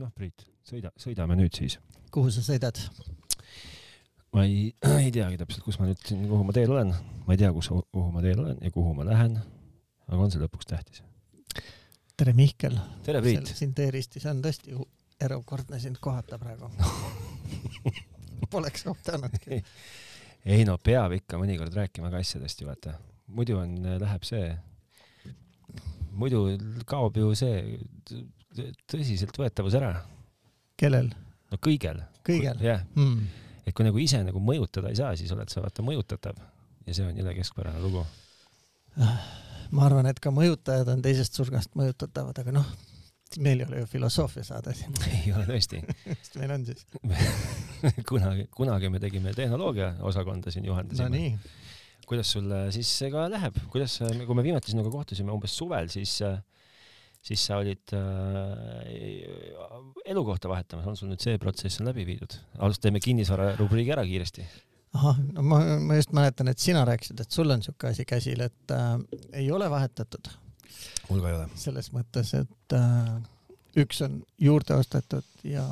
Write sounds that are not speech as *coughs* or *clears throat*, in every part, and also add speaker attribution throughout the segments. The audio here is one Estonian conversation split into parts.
Speaker 1: noh , Priit , sõida , sõidame nüüd siis .
Speaker 2: kuhu sa sõidad ?
Speaker 1: ma ei , *clears throat* ei teagi täpselt , kus ma nüüd siin , kuhu ma teel olen , ma ei tea , kus , kuhu ma teel olen ja kuhu ma lähen . aga on see lõpuks tähtis .
Speaker 2: tere , Mihkel .
Speaker 1: tere , Priit .
Speaker 2: sind e-ristis on tõesti u- erukordne sind kohata
Speaker 1: *laughs*
Speaker 2: praegu . Poleks kohtanudki .
Speaker 1: ei no peab ikka mõnikord rääkima ka asjadest ju vaata , muidu on , läheb see , muidu kaob ju see t- t- tõsiseltvõetavus ära ,
Speaker 2: kellel ?
Speaker 1: no kõigel .
Speaker 2: kõigel ?
Speaker 1: jah ,
Speaker 2: Hmm.
Speaker 1: et kui nagu ise nagu mõjutada ei saa , siis oled sa vaata mõjutatav ja see on jõle keskpärane lugu . *laughs*
Speaker 2: ma arvan , et ka mõjutajad on teisest surgast mõjutatavad , aga noh , meil ei ole ju filosoofia saade siin ,
Speaker 1: ei ole tõesti ,
Speaker 2: mis meil on siis ?
Speaker 1: kunagi , kunagi me tegime tehnoloogia osakonda siin juhendasime
Speaker 2: no . nii ,
Speaker 1: kuidas sul äh, siis ka läheb , kuidas , kui me viimati sinuga kohtusime umbes suvel , siis , siis sa olid äh, elukohta vahetamas , on sul nüüd see protsess on läbi viidud ? alustada teeme kinnisvara rubriigi ära kiiresti .
Speaker 2: ahah , no ma , ma just mäletan , et sina rääkisid , et sul on siuke asi käsil , et äh, ei ole vahetatud
Speaker 1: mul ka ei ole .
Speaker 2: selles mõttes , et äh, üks on juurde ostetud ja ,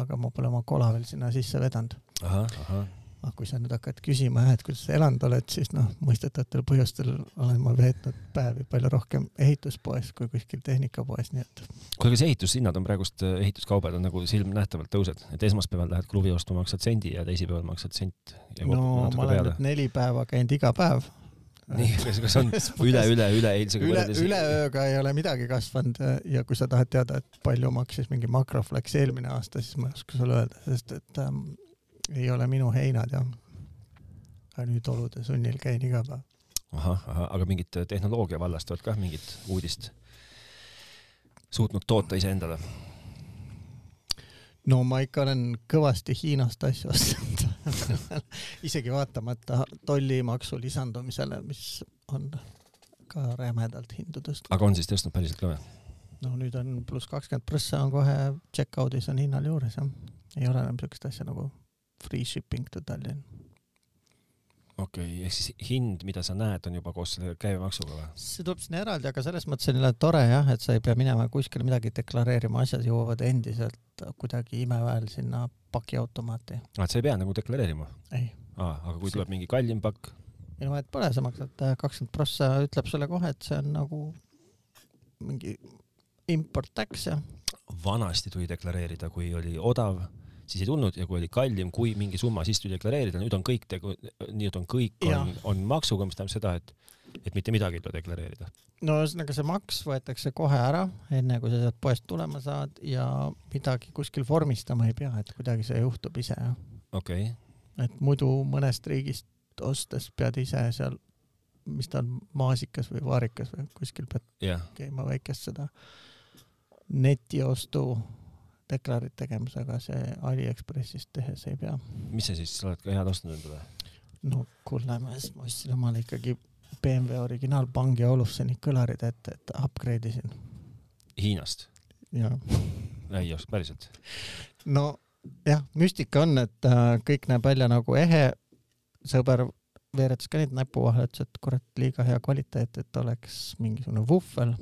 Speaker 2: aga ma pole oma kola veel sinna sisse vedanud .
Speaker 1: ahah , ahah .
Speaker 2: aga Ah, kui sa nüüd hakkad küsima jah , et kuidas sa elanud oled , siis noh , mõistetavatel põhjustel olen ma veetnud päevi palju rohkem ehituspoes kui kuskil tehnikapoes , nii et
Speaker 1: kuule , kas ehitushinnad on praegust , ehituskaubad on nagu silmnähtavalt tõused , et esmaspäeval lähed kruvi ostma , maksad sendi ja teisipäeval maksad sent .
Speaker 2: no ma olen nüüd neli päeva käinud iga päev .
Speaker 1: nii , kas , kas *laughs* on üle , üle , üleeilsega
Speaker 2: üle , üleööga ei ole midagi kasvanud ja kui sa tahad teada , et palju maksis mingi makroflex eelmine aasta , siis ma ei oska sulle öelda , sest et ähm, ei ole minu heinad jah . aga nüüd olude sunnil käin iga päev .
Speaker 1: ahah , ahah , aga mingit äh, tehnoloogia vallast oled kah mingit uudist suutnud toota iseendale ?
Speaker 2: no ma ikka olen kõvasti Hiinast asju ostnud . *laughs* isegi vaatamata tollimaksu lisandumisele , mis on ka rämedalt hindu tõstnud .
Speaker 1: aga on siis tõstnud päriselt ka või ?
Speaker 2: no nüüd on pluss kakskümmend prossa on kohe checkout'is on hinnal juures jah . ei ole enam siukest asja nagu free shipping to Tallinn .
Speaker 1: okei okay, , ehk siis hind , mida sa näed , on juba koos selle käibemaksuga või ?
Speaker 2: see tuleb sinna eraldi , aga selles mõttes on jälle tore jah , et sa ei pea minema kuskile midagi deklareerima , asjad jõuavad endiselt kuidagi imeväel sinna pakiautomaati .
Speaker 1: aa , et sa ei pea nagu deklareerima ?
Speaker 2: ei ,
Speaker 1: aa , aga kui tuleb mingi kallim pakk ,
Speaker 2: ei no vahet noh, pole , sa maksad kakskümmend prossa , ütleb sulle kohe , et see on nagu mingi import tax ja
Speaker 1: vanasti tuli deklareerida , kui oli odav , siis ei tulnud ja kui oli kallim kui mingi summa , siis tuli deklareerida , nüüd on kõik tegu , nüüd on kõik ,
Speaker 2: Jah.
Speaker 1: on , on maksuga , mis tähendab seda , et , et mitte midagi ei tule deklareerida .
Speaker 2: no ühesõnaga see maks võetakse kohe ära , enne kui sa sealt poest tulema saad ja midagi kuskil vormistama ei pea , et kuidagi see juhtub ise jah .
Speaker 1: okei okay. ,
Speaker 2: et muidu mõnest riigist ostes pead ise seal , mis ta on , maasikas või vaarikas või kuskil pead
Speaker 1: jah ,
Speaker 2: käima väikest seda netiostu deklarit tegemas , aga see Aliekspressist tehes ei pea .
Speaker 1: mis sa siis , sa oled ka head ostnud endale ?
Speaker 2: no kuule , ma just noh, ma ostsin omale ikkagi BMW originaalpangi Olufseni kõlarid ette , et upgrade isin
Speaker 1: Hiinast ?
Speaker 2: ja
Speaker 1: ei oska , päriselt ?
Speaker 2: no jah , müstika on , et äh, kõik näeb välja nagu ehe sõber veeretas ka neid näpu vahele , ütles , et kurat , liiga hea kvaliteet , et oleks mingisugune vuhvel .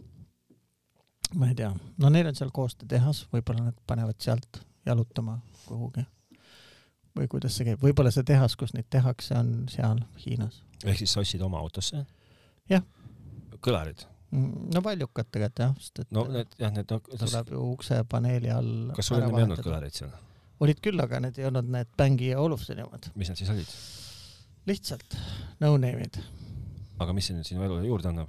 Speaker 2: ma ei tea , no neil on seal koostöötehas , võib-olla nad panevad sealt jalutama kuhugi . või kuidas see käib , võib-olla see tehas , kus neid tehakse , on seal Hiinas .
Speaker 1: ehk siis sa ostsid oma autosse ?
Speaker 2: Jah. .
Speaker 1: kõlarid ?
Speaker 2: Mm, no valjukad tegelikult jah , sest et
Speaker 1: no need jah , need no, , kas,
Speaker 2: tuleb ju uksepaneeli all .
Speaker 1: kas sul ennem ei olnud ? kõlarid seal ?
Speaker 2: olid küll , aga need ei olnud need Bängi ja Olufseni omad ,
Speaker 1: mis need siis olid ?
Speaker 2: lihtsalt no name'id .
Speaker 1: aga mis see nüüd sinu elule juurde annab ?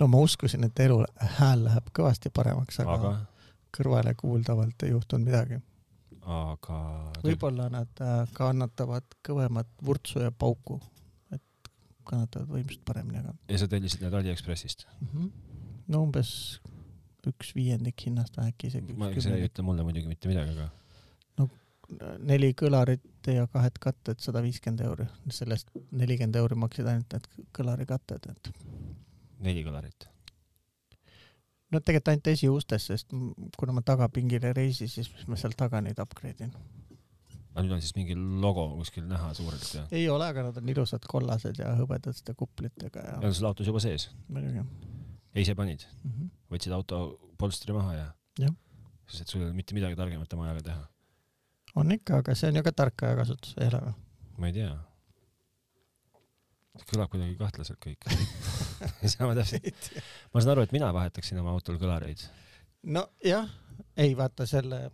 Speaker 2: no ma uskusin , et elu , hääl läheb kõvasti paremaks , aga,
Speaker 1: aga
Speaker 2: aga... , kõrvale kuuldavalt ei juhtunud midagi .
Speaker 1: aga .
Speaker 2: võib-olla nad äh, kannatavad kõvemat vurtsu ja pauku , et kannatavad võimsust paremini , aga
Speaker 1: ja sa tellisid need Aliekspressist ?
Speaker 2: mm -hmm. no umbes üks viiendik hinnast või äkki isegi
Speaker 1: ma ,
Speaker 2: üks
Speaker 1: see ei
Speaker 2: kümnendik .
Speaker 1: ütle mulle muidugi mitte midagi , aga
Speaker 2: neli kõlarit ja kahed katted , sada viiskümmend euri , sellest nelikümmend euri maksid ainult need kõlarikatted , et
Speaker 1: neli kõlarit .
Speaker 2: no tegelikult ainult esiustes , sest m- kuna ma tagapingil ei reisi , siis mis ma seal taga neid upgrade in .
Speaker 1: aga nüüd on siis mingi logo kuskil näha suurelt ja ?
Speaker 2: ei ole , aga nad on ilusad kollased ja hõbedaste kuplitega
Speaker 1: ja
Speaker 2: ja
Speaker 1: on sul autos juba sees ?
Speaker 2: muidugi
Speaker 1: ise panid ,
Speaker 2: mm . -hmm.
Speaker 1: võtsid auto polstri maha ja ?
Speaker 2: Jah. .
Speaker 1: teadlikkus , et sul ei ole mitte midagi targemat oma ajaga teha .
Speaker 2: on ikka , aga see on ju ka tark ajakasutus , ei ole või ?
Speaker 1: ma ei tea . kõlab kuidagi kahtlaselt *laughs* kõik . ei saa ma täpselt , ma saan aru , et mina vahetaksin oma autol kõlareid .
Speaker 2: nojah , ei vaata selle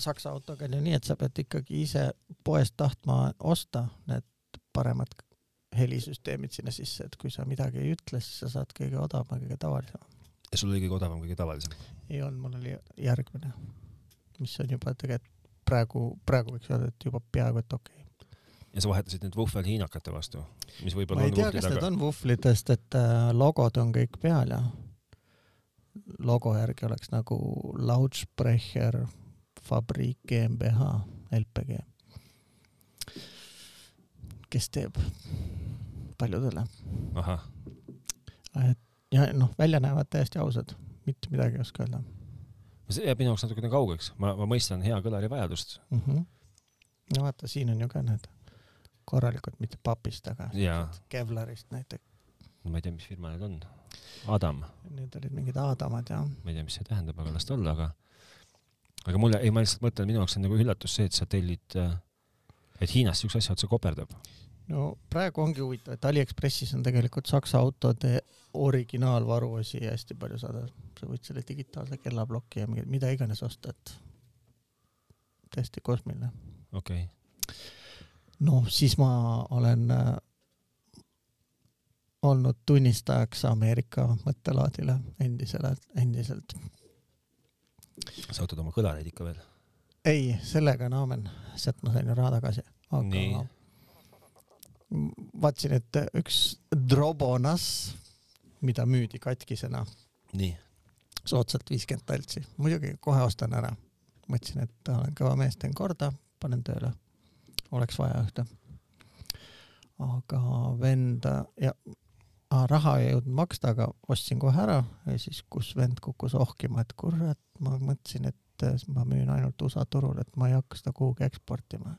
Speaker 2: Saksa autoga on ju nii , et sa pead ikkagi ise poest tahtma osta need paremad helisüsteemid sinna sisse , et kui sa midagi ei ütle , siis sa saad kõige odavama , kõige tavalisema .
Speaker 1: ja sul oli kõige odavam , kõige tavalisem .
Speaker 2: ei olnud , mul oli järgmine , mis on juba tegelikult praegu , praegu võiks öelda , et juba peaaegu et okei okay. .
Speaker 1: ja sa vahetasid need vuhvel hiinakate vastu , mis
Speaker 2: ma
Speaker 1: võib-olla
Speaker 2: ei
Speaker 1: on
Speaker 2: tea ,
Speaker 1: vuhvli
Speaker 2: kas need
Speaker 1: taga .
Speaker 2: on vuhvlitest , et äh, logod on kõik peal ja logo järgi oleks nagu Lautsprecher Fabrik GmbH LPG . kes teeb paljudele
Speaker 1: ahah ,
Speaker 2: ja noh , välja näevad täiesti ausad , mitte midagi ei oska öelda
Speaker 1: see jääb minu jaoks natukene kaugeks , ma , ma mõistan hea kõlari vajadust
Speaker 2: mm . -hmm. no vaata , siin on ju ka need korralikud , mitte papist , aga
Speaker 1: ja
Speaker 2: Kevlarist näiteks ,
Speaker 1: ma ei tea , mis firma need on . Adam ,
Speaker 2: need olid mingid Aadamad ja
Speaker 1: ma ei tea , mis see tähendab , aga las ta olla , aga aga mulle , ei ma lihtsalt mõtlen , minu jaoks on nagu üllatus see , et sa tellid , et Hiinast siukse asja otsa koperdab .
Speaker 2: no praegu ongi huvitav , et Aliekspressis on tegelikult Saksa autode originaalvaruosi hästi palju saada . sa võid selle digitaalse kellaploki ja mingi- mida iganes osta , et täiesti kosmiline .
Speaker 1: okei okay. ,
Speaker 2: noh , siis ma olen äh, olnud tunnistajaks Ameerika mõttelaadile endisele , endiselt .
Speaker 1: sa ootad oma kõlareid ikka veel .
Speaker 2: ei , sellega on aamen , sealt ma sain ju raha tagasi ,
Speaker 1: Nii.
Speaker 2: aga M- vaatasin , et üks Drobonas , mida müüdi katkisena
Speaker 1: nii .
Speaker 2: soodsalt viiskümmend taltsi , muidugi kohe ostan ära . mõtlesin , et olen kõva mees , teen korda , panen tööle . oleks vaja ühte . aga vend ja ah, raha ei jõudnud maksta , aga ostsin kohe ära ja siis , kus vend kukkus ohkima , et kurat , ma mõtlesin , et äh, ma müün ainult USA turul , et ma ei hakka seda kuhugi eksportima .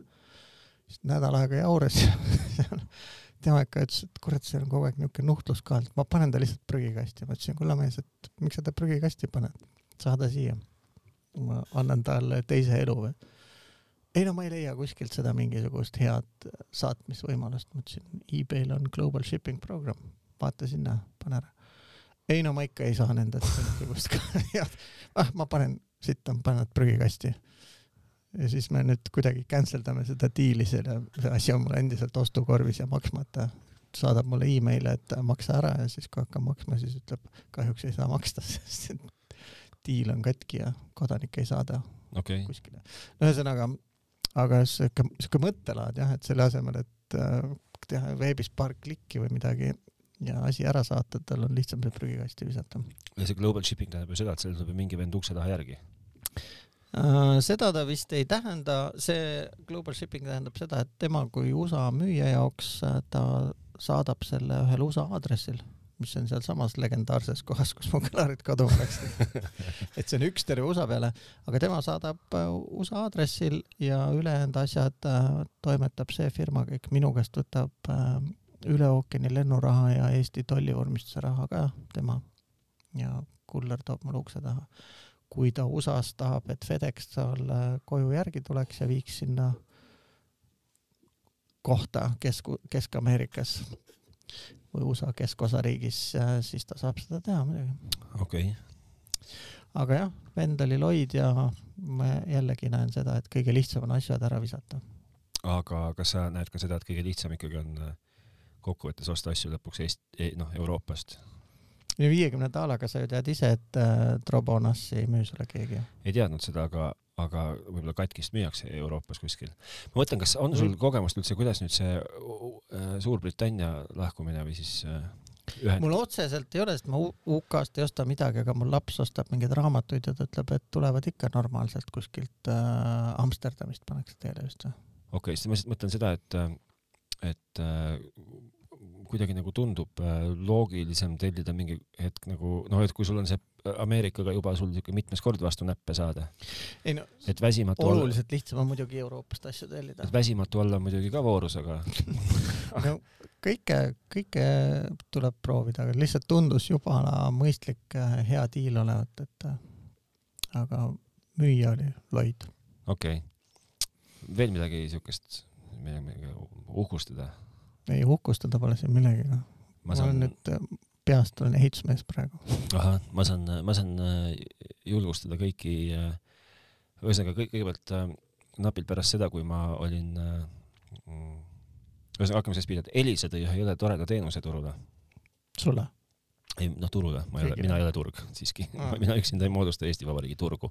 Speaker 2: siis nädal aega jaures *laughs* tema ikka ütles , et kurat , see on kogu aeg niuke nuhtlus ka , et ma panen ta lihtsalt prügikasti , ma ütlesin , kulla mees , et miks sa ta prügikasti paned , saada siia . ma annan talle teise elu või ? ei no ma ei leia kuskilt seda mingisugust head saatmisvõimalust , ma ütlesin , e-mail on global shipping program , vaata sinna , pane ära . ei no ma ikka ei saa nendelt mingisugust ka- head , ah ma panen , siit on , panen nad prügikasti . ja siis me nüüd kuidagi cancel dame seda diili , selle see asi on mul endiselt ostukorvis ja maksmata saadab mulle emaili , et maksa ära ja siis kui hakkan maksma , siis ütleb kahjuks ei saa maksta , *laughs* sest et diil on katki ja kodanik ei saada
Speaker 1: okei okay. ,
Speaker 2: kuskile . ühesõnaga , aga sihuke , sihuke mõttelaad jah , et selle asemel , et äh, teha veebis paar klikki või midagi ja asi ära saata , tal on lihtsam see prügikasti visata .
Speaker 1: ja see global shipping tähendab ju seda , et seal tuleb ju mingi vend ukse taha järgi .
Speaker 2: Äh, seda ta vist ei tähenda , see global shipping tähendab seda , et tema kui USA müüja jaoks äh, ta saadab selle ühel USA aadressil , mis on sealsamas legendaarses kohas , kus mu kõlarid kaduma läksid . et see on üks terve USA peale , aga tema saadab äh, USA aadressil ja ülejäänud asjad äh, toimetab see firma kõik , minu käest võtab äh, üle ookeani lennuraha ja Eesti tollivormistuse raha ka tema ja kuller toob mulle ukse taha . kui ta USA-s tahab , et FedEx talle koju järgi tuleks ja viiks sinna kohta Kesk , Kesk-Ameerikas või USA keskosariigis , siis ta saab seda teha muidugi .
Speaker 1: okei okay. ,
Speaker 2: aga jah , vend oli loid ja ma jällegi näen seda , et kõige lihtsam on asjad ära visata .
Speaker 1: aga kas sa näed ka seda , et kõige lihtsam ikkagi on äh, kokkuvõttes osta asju lõpuks Eest- , noh , Euroopast ?
Speaker 2: viiekümne daalaga sa ju tead ise , et äh, Drobonassi ei müü sulle keegi .
Speaker 1: ei teadnud seda , aga , aga võib-olla katkist müüakse Euroopas kuskil . ma mõtlen , kas on sul
Speaker 2: Mm.
Speaker 1: kogemust üldse , kuidas nüüd see uh, uh, Suurbritannia lahkumine või siis uh, ühe
Speaker 2: mul otseselt ei ole , sest ma U- UK-st ei osta midagi , aga mul laps ostab mingeid raamatuid ja ta ütleb , et tulevad ikka normaalselt kuskilt äh, Amsterdamist pannakse teele vist või ?
Speaker 1: okei okay, , siis ma lihtsalt mõtlen seda , et , et äh, kuidagi nagu tundub äh, loogilisem tellida mingi hetk nagu noh , et kui sul on see Ameerikaga juba sul siuke mitmes kord vastu näppe saada ,
Speaker 2: ei no
Speaker 1: et väsimatu olla ,
Speaker 2: oluliselt lihtsam on muidugi Euroopast asju tellida
Speaker 1: et . väsimatu olla on muidugi ka voorus , aga
Speaker 2: no kõike , kõike tuleb proovida , aga lihtsalt tundus juba mõistlik , hea diil olevat , et äh, aga müüja oli loid .
Speaker 1: okei okay. . veel midagi siukest , millega uhkustada ?
Speaker 2: ei uhkustada pole siin millegagi .
Speaker 1: ma
Speaker 2: ma saan...
Speaker 1: saan ,
Speaker 2: nüüd äh, peast olen ehitusmees praegu .
Speaker 1: ahah , ma saan , ma saan äh, julgustada kõiki , ühesõnaga kõik , kõigepealt äh, napilt pärast seda , kui ma olin äh, mm, ühesõnaga hakkame sellest pihta , et Elisa tõi ühe jõle toreda teenuse turule .
Speaker 2: sulle ?
Speaker 1: ei noh , turule , ma ei ole ,
Speaker 2: Kõigile.
Speaker 1: mina ei ole turg *laughs* siiski
Speaker 2: Aa.
Speaker 1: mina üksinda ei moodusta Eesti Vabariigi turgu .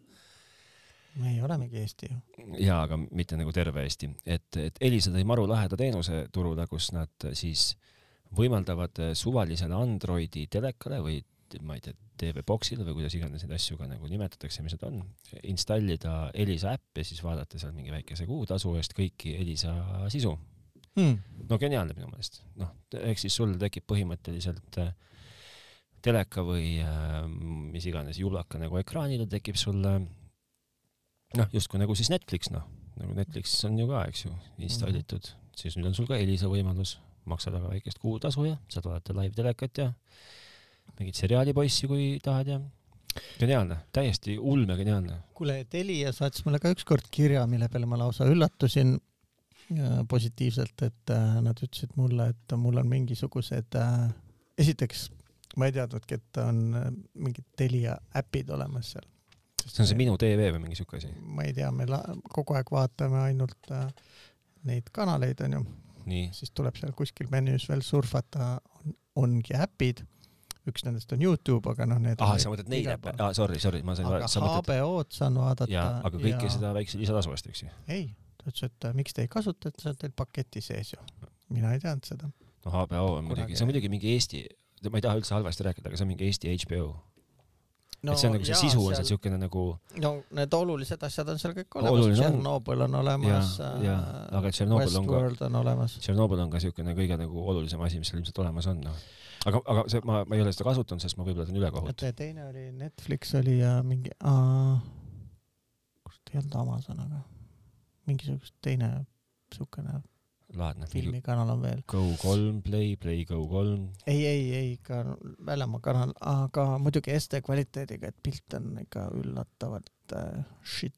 Speaker 2: me ei olemegi Eesti ju .
Speaker 1: jaa , aga mitte nagu terve Eesti , et , et Elisa tõi maru laheda teenuse turule , kus nad siis võimaldavad suvalisele Androidi telekale või t- ma ei tea , TV-boksile või kuidas iganes neid asju ka nagu nimetatakse , mis nad on , installida Elisa äpp ja siis vaadata seal mingi väikese kuutasu eest kõiki Elisa sisu .
Speaker 2: Hmm.
Speaker 1: no geniaalne minu meelest , noh , ehk siis sul tekib põhimõtteliselt äh, teleka või äh, mis iganes julaka nagu ekraanile tekib sulle noh , justkui nagu siis Netflix noh , nagu Netflix on ju ka , eks ju , installitud mm , -hmm. siis nüüd on sul ka Elisa võimalus , maksad väga väikest kuutasu ja saad vaadata laivtelekat ja mingit seriaalipoissi , kui tahad ja geniaalne , täiesti ulme geniaalne .
Speaker 2: kuule , Telia saatis mulle ka ükskord kirja , mille peale ma lausa üllatusin äh, positiivselt , et äh, nad ütlesid mulle , et mul on mingisugused , esiteks ma ei teadnudki , et on äh, mingid Telia äpid olemas seal .
Speaker 1: see on see Minu TV või mingi siuke asi .
Speaker 2: ma ei tea , me la- kogu aeg vaatame ainult äh, neid kanaleid onju ,
Speaker 1: nii ,
Speaker 2: siis tuleb seal kuskil menüüs veel surfata , ongi äpid , üks nendest on Youtube , aga noh , need
Speaker 1: ahah ,
Speaker 2: on
Speaker 1: Ah, sa mõtled neid
Speaker 2: igal
Speaker 1: äppe ,
Speaker 2: pool.
Speaker 1: aa sorry , sorry , ma sain ,
Speaker 2: aga
Speaker 1: sa mõtled
Speaker 2: HBO-d saan vaadata .
Speaker 1: ja , aga kõike ja... seda väikse lisatasu eest , eks ju .
Speaker 2: ei , ta ütles , et äh, miks te ei kasuta , et see on teil paketi sees ju . mina ei teadnud seda .
Speaker 1: noh , HBO on muidugi , see on muidugi mingi Eesti , ma ei taha üldse halvasti rääkida , aga see on mingi Eesti HBO no, . et see on nagu see sisu on seal siukene nagu
Speaker 2: no need olulised asjad on seal kõik olemas ,
Speaker 1: Oluline on.
Speaker 2: Tšernobõl on olemas äh,
Speaker 1: ja , ja , aga Tšernobõl on ka ,
Speaker 2: Westworld on olemas .
Speaker 1: Tšernobõl on ka siukene kõige nagu olulisem asi , mis seal ilmselt olemas on , noh . aga , aga see , ma , ma ei ole seda kasutanud , sest ma võib-olla teen ülekohut .
Speaker 2: oota ja äh, teine oli Netflix oli ja mingi aa, kus ta ei olnud Amazon , aga mingisugust teine siukene
Speaker 1: laadne film .
Speaker 2: filmikanal on veel .
Speaker 1: Go kolm , Play , Play Go kolm .
Speaker 2: ei , ei , ei ka väljamaa kanal , aga muidugi SD kvaliteediga , et pilt on ikka üllatavalt äh, shit .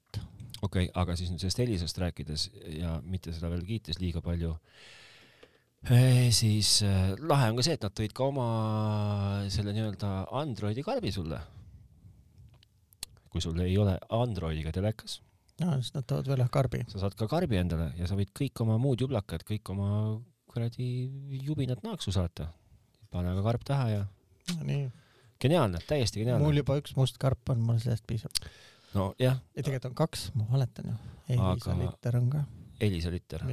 Speaker 1: okei okay, , aga siis nüüd sellest Elisast rääkides ja mitte seda veel kiites liiga palju , siis eh, lahe on ka see , et nad tõid ka oma selle nii-öelda Androidi karbi sulle . kui sul ei ole Androidiga telekas ,
Speaker 2: no siis nad toovad välja karbi .
Speaker 1: sa saad ka karbi endale ja sa võid kõik oma muud jublakad , kõik oma kuradi jubinad naaksu saata . pane aga karp taha ja
Speaker 2: nii ,
Speaker 1: geniaalne , täiesti
Speaker 2: mul
Speaker 1: geniaalne .
Speaker 2: juba üks must karp on , mul sellest piisab .
Speaker 1: nojah ,
Speaker 2: ei , tegelikult on kaks , ma valetan ju . ei ,
Speaker 1: Aga-
Speaker 2: Liisa liiter on ka ,
Speaker 1: Elisa litter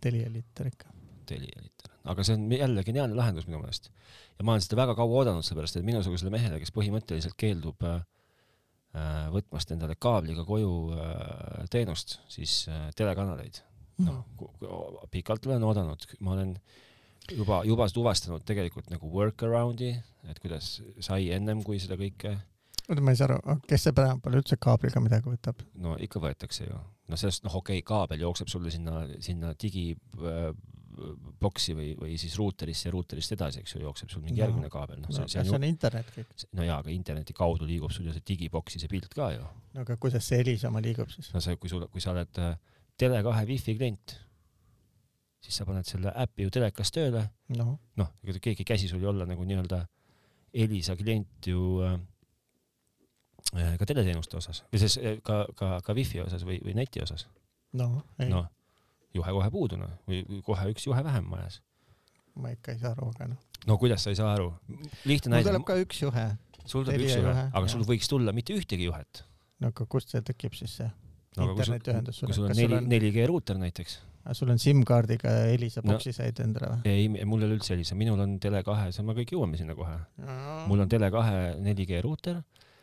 Speaker 2: Telia liiter ikka .
Speaker 1: Telia liiter , aga see on jälle geniaalne lahendus minu meelest . ja ma olen seda väga kaua oodanud , sellepärast et minusugusele mehele , kes põhimõtteliselt keeldub äh, äh, võtmast endale kaabliga koju äh, teenust , siis äh, telekanaleid , noh , pikalt olen oodanud , ma olen juba , juba tuvastanud tegelikult nagu workaround'i , et kuidas sai ennem kui seda kõike ,
Speaker 2: oota , ma ei saa aru , kes see tänapäeval üldse kaabliga midagi võtab ?
Speaker 1: no ikka võetakse ju . no sellest , noh okei okay, , kaabel jookseb sulle sinna , sinna digi äh, boksi või , või siis ruuterisse ja ruuterist edasi , eks ju , jookseb sul mingi
Speaker 2: No.
Speaker 1: järgmine kaabel , noh
Speaker 2: no
Speaker 1: see ,
Speaker 2: kas
Speaker 1: see
Speaker 2: see
Speaker 1: on ju ,
Speaker 2: on internet kõik ?
Speaker 1: no jaa , aga interneti kaudu liigub sul ju see digiboksi see pilt ka ju .
Speaker 2: no aga kuidas see Elisa oma liigub siis ?
Speaker 1: no see , kui sul , kui sa oled äh, Tele2 wifi klient , siis sa paned selle äpi ju telekas tööle ,
Speaker 2: noh ,
Speaker 1: noh , ega keegi ei käsi sul ju olla nagu nii-öelda Elisa klient ju äh, äh, ka teleteenuste osas , või siis äh, ka , ka , ka wifi osas või , või neti osas .
Speaker 2: noh , ei no. ,
Speaker 1: noh , juhe kohe puuduna või või kohe üks juhe vähem majas .
Speaker 2: ma ikka ei saa aru , aga noh .
Speaker 1: no kuidas sa ei saa aru ? lihtne
Speaker 2: mul
Speaker 1: näide
Speaker 2: tuleb , ka üks juhe .
Speaker 1: sul tuleb
Speaker 2: Telia
Speaker 1: üks juhe
Speaker 2: juhe, ,
Speaker 1: aga
Speaker 2: jah.
Speaker 1: sul võiks tulla mitte ühtegi juhet .
Speaker 2: no aga kust see tekib siis see
Speaker 1: No aga kui sul-
Speaker 2: internetiühendus
Speaker 1: kui
Speaker 2: sulle ?
Speaker 1: sul on
Speaker 2: kas sul
Speaker 1: neli ,
Speaker 2: on ,
Speaker 1: neli G ruuter näiteks .
Speaker 2: sul on SIM-kaardiga Elisa
Speaker 1: No.
Speaker 2: boksi said endale või ?
Speaker 1: ei , mul ei ole üldse sellise , minul on Tele2 , see me kõik jõuame sinna kohe . mul on Tele2 neli G ruuter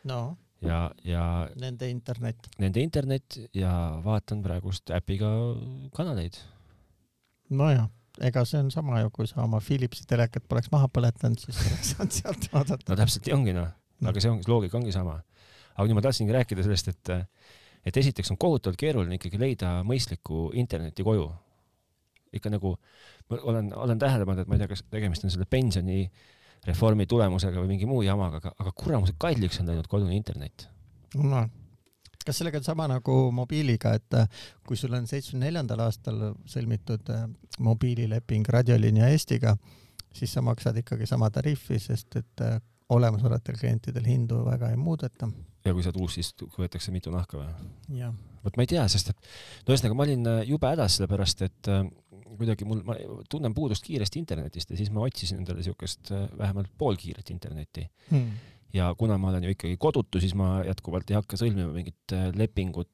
Speaker 2: no
Speaker 1: ja , ja
Speaker 2: nende internet .
Speaker 1: nende internet ja vaatan praegust äpiga kanaleid .
Speaker 2: nojah , ega see on sama ju , kui sa oma Philipsi telekat poleks maha põletanud , siis *laughs* oleks saanud sealt vaadata .
Speaker 1: no täpselt nii ongi noh , aga see ongi , loogika ongi sama . aga nüüd ma tahtsingi rääkida sellest , et , et esiteks on kohutavalt keeruline ikkagi leida mõistlikku interneti koju . ikka nagu ma olen , olen tähele pannud , et ma ei tea , kas tegemist on selle pensionireformi tulemusega või mingi muu jamaga , aga , aga kuramuse kalliks on läinud kodune internet .
Speaker 2: no kas sellega on sama nagu mobiiliga , et äh, kui sul on seitsmekümne neljandal aastal sõlmitud äh, mobiilileping Radioliinija Eestiga , siis sa maksad ikkagi sama tariifi , sest et äh, olemasolevatel klientidel hindu väga ei muudeta .
Speaker 1: ja kui saad uus , siis võetakse mitu nahka või ?
Speaker 2: jah ,
Speaker 1: vot ma ei tea , sest et no ühesõnaga , ma olin äh, jube hädas , sellepärast et äh, kuidagi mul , ma tunnen puudust kiirest internetist ja siis ma otsisin endale siukest äh, vähemalt poolkiiret internetti .
Speaker 2: hmm.
Speaker 1: ja kuna ma olen ju ikkagi kodutu , siis ma jätkuvalt ei hakka sõlmima mingit äh, lepingut .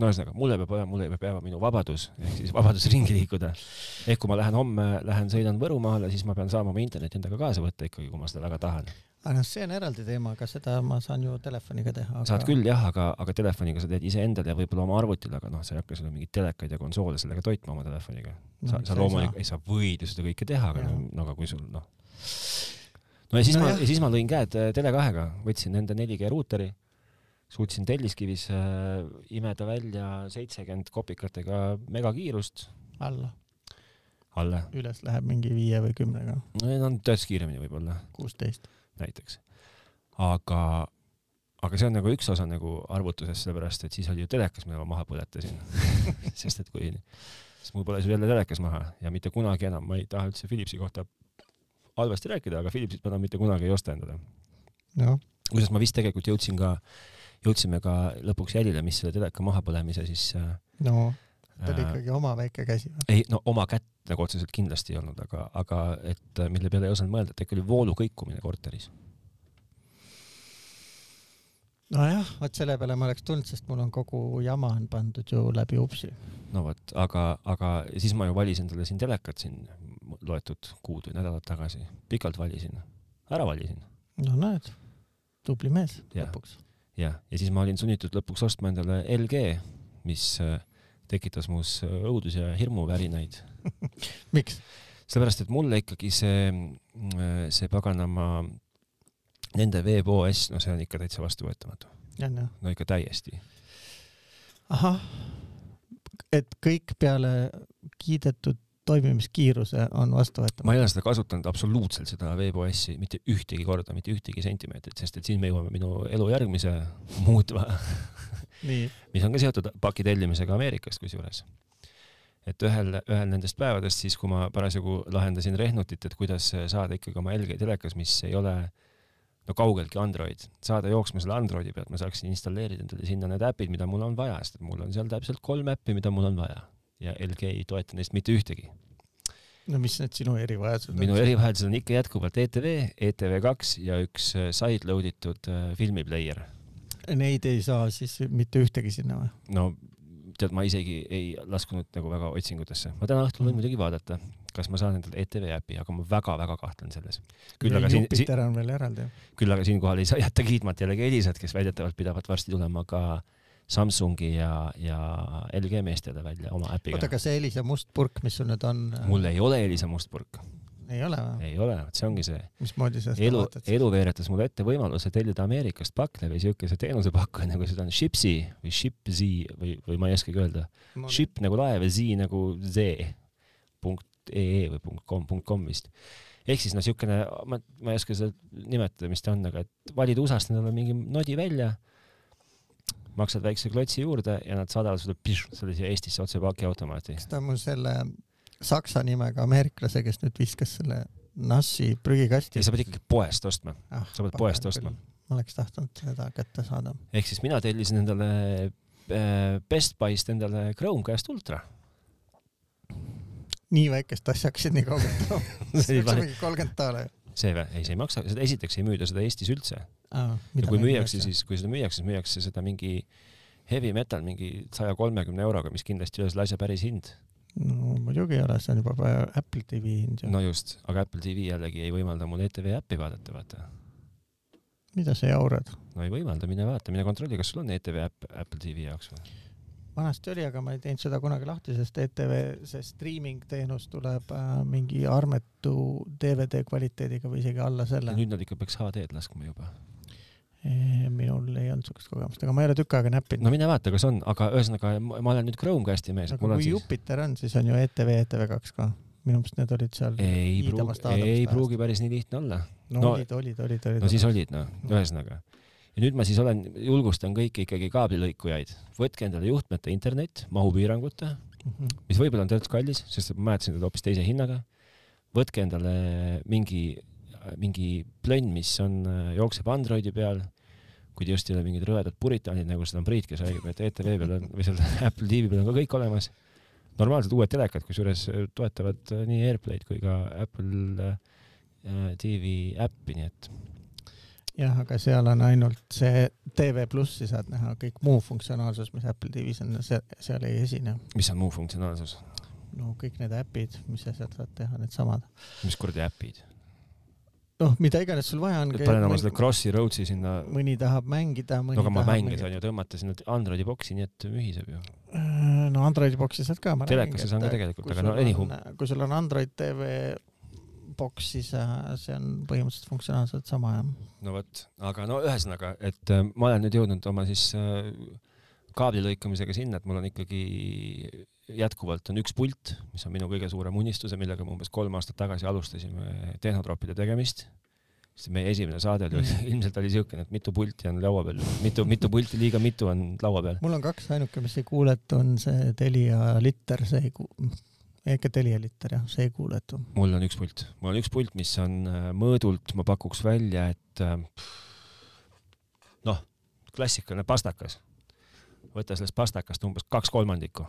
Speaker 1: no ühesõnaga , mulle peab olema , mulle peab jääma minu vabadus , ehk siis vabadus *laughs* ringi liikuda . ehk kui ma lähen homme , lähen sõidan Võrumaale , siis ma pean saama oma interneti endaga kaasa võtta ikkagi , kui ma seda väga tahan .
Speaker 2: aga noh , see on eraldi teema , aga seda ma saan ju telefoniga teha .
Speaker 1: saad küll jah , aga , aga telefoniga sa teed iseendale ja võib-olla oma arvutile , aga noh , sa ei hakka seal mingeid telekaid ja konsoole sellega toitma oma telefoniga .
Speaker 2: noh,
Speaker 1: sa , sa loomulikult , ei sa võid ju seda kõike teha , aga
Speaker 2: Jah.
Speaker 1: no, no aga kui sul noh . no ja siis no, ma ,
Speaker 2: Nojah.
Speaker 1: ja siis ma lõin käed äh, Tele2-ga , võtsin nende 4G ruuteri , suutsin Telliskivis äh, imeda välja seitsekümmend kopikatega megakiirust
Speaker 2: alla ,
Speaker 1: alla .
Speaker 2: üles läheb mingi viie või kümnega ,
Speaker 1: no ja nad töötas kiiremini võib-olla
Speaker 2: kuusteist .
Speaker 1: näiteks . aga , aga see on nagu üks osa nagu arvutusest , sellepärast et siis oli ju telekas , mille ma maha põletasin . *laughs* sest et kui , siis mul põles ju jälle telekas maha ja mitte kunagi enam , ma ei taha üldse Philipsi kohta halvasti rääkida , aga Philipsit ma enam mitte kunagi ei osta endale .
Speaker 2: noh ,
Speaker 1: kusjuures ma vist tegelikult jõudsin ka , jõudsime ka lõpuks jälile , mis selle teleka mahapõlemise siis äh,
Speaker 2: no ta oli
Speaker 1: äh,
Speaker 2: ikkagi oma väike käsi .
Speaker 1: ei no oma kätt nagu otseselt kindlasti ei olnud , aga , aga et äh, mille peale ei osanud mõelda , et äkki oli voolu kõikumine korteris .
Speaker 2: nojah , vot selle peale ma oleks tulnud , sest mul on kogu jama on pandud ju läbi upsi .
Speaker 1: no vot , aga , aga siis ma ju valisin talle siin telekat siin loetud kuud või nädalad tagasi , pikalt valisin , ära valisin ,
Speaker 2: no näed , tubli mees
Speaker 1: Jah.
Speaker 2: lõpuks .
Speaker 1: jah , ja siis ma olin sunnitud lõpuks ostma endale LG , mis äh, tekitas muus äh, õudus- ja hirmuvärinaid ,
Speaker 2: miks ?
Speaker 1: sellepärast et mulle ikkagi see , see paganama , nende WebOS , no see on ikka täitsa vastuvõetamatu ,
Speaker 2: on ju ,
Speaker 1: no ikka täiesti .
Speaker 2: ahah , et kõik peale kiidetud toimimiskiiruse on
Speaker 1: ma
Speaker 2: vastuvõetamatu .
Speaker 1: ei ole seda kasutanud absoluutselt , seda WebOS-i , mitte ühtegi korda , mitte ühtegi sentimeetrit , sest et siin me jõuame minu elu järgmise muutva
Speaker 2: nii ,
Speaker 1: mis on ka seotud paki tellimisega Ameerikast kusjuures . et ühel , ühel nendest päevadest siis , kui ma parasjagu lahendasin rehnutit , et kuidas saada ikkagi oma LG telekas , mis ei ole no kaugeltki Android , saada jooksma selle Androidi pealt , ma saaksin installeerida endale sinna need äpid , mida mul on vaja , sest et mul on seal täpselt kolm äppi , mida mul on vaja ja LG ei toeta neist mitte ühtegi .
Speaker 2: no mis need sinu erivajadused
Speaker 1: minu
Speaker 2: on ?
Speaker 1: erivajadused on ikka jätkuvalt E ETV , ETV2 ja üks sideload itud äh, filmipleier .
Speaker 2: Neid ei saa siis mitte ühtegi sinna või ?
Speaker 1: no tead , ma isegi ei laskunud nagu väga otsingutesse . ma täna
Speaker 2: Mm.
Speaker 1: õhtul võin muidugi vaadata , kas ma saan endale ETV äpi , aga ma väga-väga kahtlen selles . küll aga siin , si,
Speaker 2: Jupiter on veel eraldi .
Speaker 1: küll aga siinkohal ei saa jätta kiitmata jällegi Elisat , kes väidetavalt pidavat varsti tulema ka Samsungi ja , ja LG meestele välja oma
Speaker 2: oota ,
Speaker 1: äpiga .
Speaker 2: aga see Elisa must purk , mis sul nüüd on ,
Speaker 1: mul ei ole Elisa mustpurk ,
Speaker 2: ei ole või ?
Speaker 1: ei ole , vot see ongi see .
Speaker 2: mismoodi sa seda
Speaker 1: elu ,
Speaker 2: vaatad ?
Speaker 1: elu veeretas mulle ette võimaluse tellida Ameerikast pakle või siukese teenusepakkuja nagu seda on Shipsy või Shipzy või , või ma ei oskagi öelda . Ship nagu laev ja Z nagu Z punkt ee või punkt kom , punkt kom vist . ehk siis no siukene , ma , ma ei oska seda nimetada , mis ta on , aga et valid USA-st endale mingi nodi välja , maksad väikse klotsi juurde ja nad saadavad sulle piš, selle siia Eestisse otse pakiautomaati .
Speaker 2: kas ta on mul selle saksa nimega ameeriklase , kes nüüd viskas selle Nassi prügikasti
Speaker 1: ja sa pead ikkagi poest ostma ,
Speaker 2: ah,
Speaker 1: sa pead poest ostma. .
Speaker 2: ma oleks tahtnud seda kätte saada .
Speaker 1: ehk siis mina tellisin endale äh, Best Buy'st endale Chromecast Ultra . *laughs*
Speaker 2: nii väikest asja hakkasid nii kaugelt tooma . see
Speaker 1: see
Speaker 2: on mingi kolmkümmend taala ju
Speaker 1: või ? ei , see ei maksa , seda esiteks ei müüda seda Eestis üldse .
Speaker 2: ah, .
Speaker 1: ja kui müüakse , siis , kui seda müüakse , siis müüakse seda mingi heavy metal mingi saja kolmekümne euroga , mis kindlasti ei ole selle asja päris hind .
Speaker 2: no muidugi ei ole , see on juba pa- Apple TV hind ju no. .
Speaker 1: no just , aga Apple TV jällegi ei võimalda mul ETV äppi vaadata , vaata .
Speaker 2: mida sa jaurad ?
Speaker 1: no ei võimalda , mine vaata , mine kontrolli , kas sul on ETV äpp Apple TV jaoks või ?
Speaker 2: vanasti oli , aga ma ei teinud seda kunagi lahti , sest ETV , see streaming teenus tuleb äh, mingi armetu DVD kvaliteediga või isegi alla selle .
Speaker 1: nüüd nad ikka peaks HD-d laskma juba .
Speaker 2: minul ei olnud siukest kogemust , aga ma ei ole tükk aega näppinud .
Speaker 1: no mine vaata , kas on , aga ühesõnaga ma ma olen nüüd Chromecasti mees , et mul
Speaker 2: aga
Speaker 1: on
Speaker 2: kui
Speaker 1: siis .
Speaker 2: Jupiter on , siis on ju E ETV , ETV2 ka . minu meelest need olid seal ,
Speaker 1: ei pruugi
Speaker 2: Hiidamast , Aadamast
Speaker 1: ei
Speaker 2: ajast.
Speaker 1: pruugi päris nii lihtne olla .
Speaker 2: no
Speaker 1: no-
Speaker 2: olid , olid , olid , olid .
Speaker 1: no siis olid noh , ühesõnaga . ja nüüd ma siis olen , julgustan kõiki ikkagi kaablilõikujaid , võtke endale juhtmete internet mahupiirangute ,
Speaker 2: Mhm.
Speaker 1: mis võib-olla on tegelikult kallis , sest et ma mäletasin teda hoopis teise hinnaga . võtke endale mingi , mingi plönn , mis on , jookseb Androidi peal , kui te just ei ole mingid rõvedad puritaanid , nagu seda on Priit , kes räägib , et ETV peal on või seal *laughs* Apple TV peal on ka kõik olemas . normaalsed uued telekad , kusjuures äh, toetavad nii AirPlay'd kui ka Apple äh, TV äppi , nii et
Speaker 2: jah , aga seal on ainult see TV Plussi saad näha , kõik muu funktsionaalsus , mis Apple TV-s on , see , seal ei esine .
Speaker 1: mis on muu funktsionaalsus ,
Speaker 2: no kõik need äpid , mis sa sealt saad teha , needsamad .
Speaker 1: mis kuradi äpid ,
Speaker 2: noh , mida iganes sul vaja on .
Speaker 1: panen oma selle Crossi Roadsi sinna ,
Speaker 2: mõni tahab mängida , mõni
Speaker 1: no aga ma
Speaker 2: tahab
Speaker 1: mänge saan ju tõmmata sinna Androidi boksi , nii et mühiseb ju .
Speaker 2: mängida . Äh, no Androidi boksi saad ka .
Speaker 1: telekasse saan ka tegelikult , aga no anywho ,.
Speaker 2: äh, kui sul on Android TV boks , siis äh, see on põhimõtteliselt funktsionaalselt sama jah .
Speaker 1: no vot , aga no ühesõnaga , et äh, ma olen nüüd jõudnud oma siis äh, kaabli lõikamisega sinna , et mul on ikkagi jätkuvalt on üks pult , mis on minu kõige suurem unistus ja millega me umbes kolm aastat tagasi alustasime tehnotroopide tegemist . sest meie esimene saade oli
Speaker 2: Mm.
Speaker 1: *laughs* ilmselt oli siukene , et mitu pulti on laua peal , mitu , mitu pulti , liiga mitu on laua peal .
Speaker 2: mul on kaks ainuke , mis ei kuuletu , on see Telia liter , see ei ku- , ikka Telia liter jah , see ei kuuletu .
Speaker 1: mul on üks pult , mul on üks pult , mis on äh, mõõdult , ma pakuks välja , et äh, noh , klassikaline pastakas . võta sellest pastakast umbes kaks kolmandikku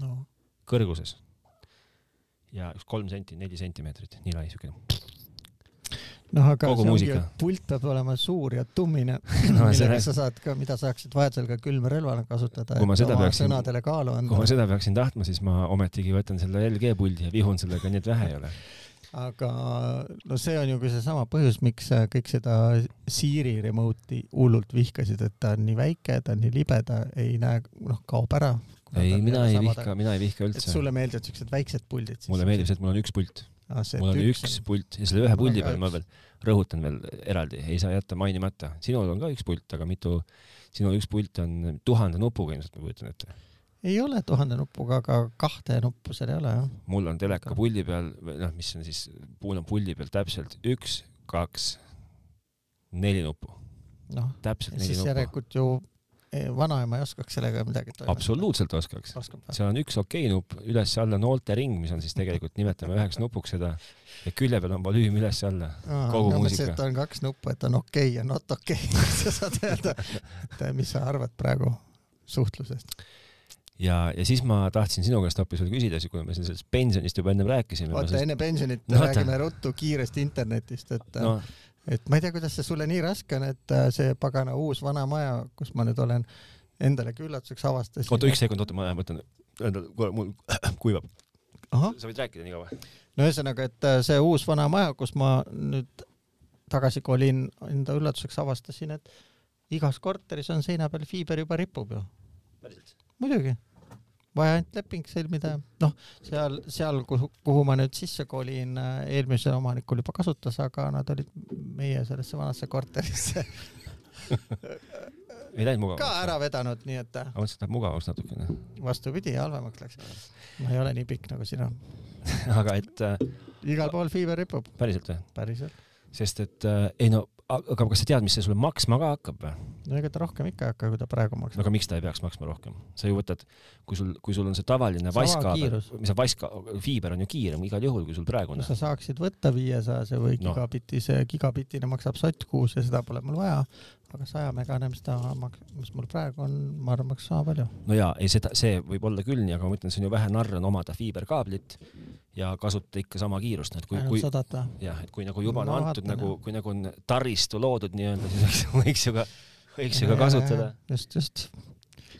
Speaker 2: no
Speaker 1: kõrguses ja üks kolm senti , neli sentimeetrit , nii lai siukene . *laughs*
Speaker 2: noh , aga
Speaker 1: Kogu
Speaker 2: see ongi
Speaker 1: muusika.
Speaker 2: ju , et pult peab olema suur ja tummine
Speaker 1: *laughs* No
Speaker 2: no, ,
Speaker 1: see-
Speaker 2: millega sa saad ka , mida saaksid vajadusel ka külmrelvana kasutada ,
Speaker 1: Kui ma
Speaker 2: et
Speaker 1: seda
Speaker 2: oma
Speaker 1: peaksin-
Speaker 2: sõnadele kaalu
Speaker 1: kui ma
Speaker 2: anda .
Speaker 1: seda peaksin tahtma , siis ma ometigi võtan selle LG puldi ja vihun sellega , nii et vähe ei ole .
Speaker 2: aga no see on ju ka seesama põhjus , miks sa kõik seda Siri remote'i hullult vihkasid , et ta on nii väike , ta on nii libe , ta ei näe , noh , kaob ära .
Speaker 1: ei , mina ei vihka , mina ei vihka
Speaker 2: et
Speaker 1: üldse .
Speaker 2: sulle meeldivad siuksed väiksed puldid siis ? Ah,
Speaker 1: mulle meeldib see , et mul on üks pult ,
Speaker 2: meeldib
Speaker 1: mul on üks pult ja selle ühe
Speaker 2: Mul on
Speaker 1: puldi
Speaker 2: ka
Speaker 1: peal ma veel rõhutan veel eraldi , ei saa jätta mainimata . sinul on ka üks pult , aga mitu , sinu üks pult on tuhande nupuga ilmselt , ma kujutan ette .
Speaker 2: ei ole tuhande nupuga , aga kahte nuppu seal ei ole jah .
Speaker 1: mul on teleka puldi peal , noh , mis on siis , mul on puldi peal täpselt üks , kaks , neli nuppu ,
Speaker 2: noh ,
Speaker 1: täpselt neli
Speaker 2: siis
Speaker 1: nuppu .
Speaker 2: järelikult ju eh, vanaema ei oskaks sellega midagi toimetada .
Speaker 1: absoluutselt oskaks .
Speaker 2: oskab või ?
Speaker 1: seal on üks okei nupp , üles-alla noolte ring , mis on siis tegelikult , nimetame üheks nupuks seda ja külje peal on volüüm üles-alla . kogu muusika.
Speaker 2: et on kaks nuppu , et on okei okay ja not okei *laughs* okay. . sa saad öelda , et mis sa arvad praegu suhtlusest .
Speaker 1: ja , ja siis ma tahtsin sinu käest hoopis veel küsida , kui me siin sellest pensionist juba ennem rääkisime .
Speaker 2: oota , enne pensionit
Speaker 1: No
Speaker 2: no,
Speaker 1: oota.
Speaker 2: räägime ruttu kiiresti internetist , et äh, no. ,
Speaker 1: no,
Speaker 2: et ma ei tea , kuidas see sulle nii raske on , et äh, see pagana uus vana maja , kus ma nüüd olen , endale küllatuseks avastasin .
Speaker 1: oota , üks sekund , oota , ma mõtlen , kuule , mul *coughs* kuivab .
Speaker 2: ahah ,
Speaker 1: sa võid rääkida nii kaua .
Speaker 2: no ühesõnaga , et äh, see uus vana maja , kus ma nüüd tagasi kolin , enda üllatuseks avastasin , et igas korteris on seina peal fiiber juba ripub ju . muidugi , vaja ainult leping sõlmida , noh , seal , seal , kuhu , kuhu ma nüüd sisse kolin , eelmisel omanikul juba kasutas , aga nad olid meie sellesse vanasse korterisse *laughs*
Speaker 1: ei läinud
Speaker 2: ka
Speaker 1: mugavaks ?
Speaker 2: ära vedanud , nii et äh,
Speaker 1: ma mõtlesin , et läheb mugavaks natukene . *laughs*
Speaker 2: vastupidi , halvemaks läks . ma ei ole nii pikk nagu sina ,
Speaker 1: aga et äh,
Speaker 2: igal pool fiiber ripub ,
Speaker 1: päriselt või ?
Speaker 2: päriselt .
Speaker 1: sest et äh, ei no , aga kas sa tead , mis see sulle maksma ka hakkab või ?
Speaker 2: no ega ta rohkem ikka ei hakka , kui ta praegu maksab .
Speaker 1: no aga miks ta ei peaks maksma rohkem ? sa ju võtad , kui sul , kui sul on see tavaline vaskkaabel
Speaker 2: kiirus. ,
Speaker 1: mis on vaska , fiiber on ju kiirem igal juhul , kui sul praegune
Speaker 2: no . sa saaksid võtta viiesajase või
Speaker 1: Noh.
Speaker 2: gigabitise , gigabitine maksab sott kuus ja seda pole mul vaja , aga sajamegane , mis ta maks- , mis mul praegu on , ma arvan , maksab sama palju .
Speaker 1: no jaa , ei seda , see võib olla küll nii , aga ma ütlen , see on ju vähe narr on omada fiiberkaablit ja kasutada ikka sama kiirust , et kui , kui
Speaker 2: ainult sadat või ?
Speaker 1: jah , et kui nagu juba on
Speaker 2: Ma
Speaker 1: antud
Speaker 2: vaatan,
Speaker 1: nagu
Speaker 2: jah. ,
Speaker 1: kui nagu on taristu loodud nii-öelda , siis võiks , võiks ju ka , võiks ju ka kasutada ..
Speaker 2: just , just .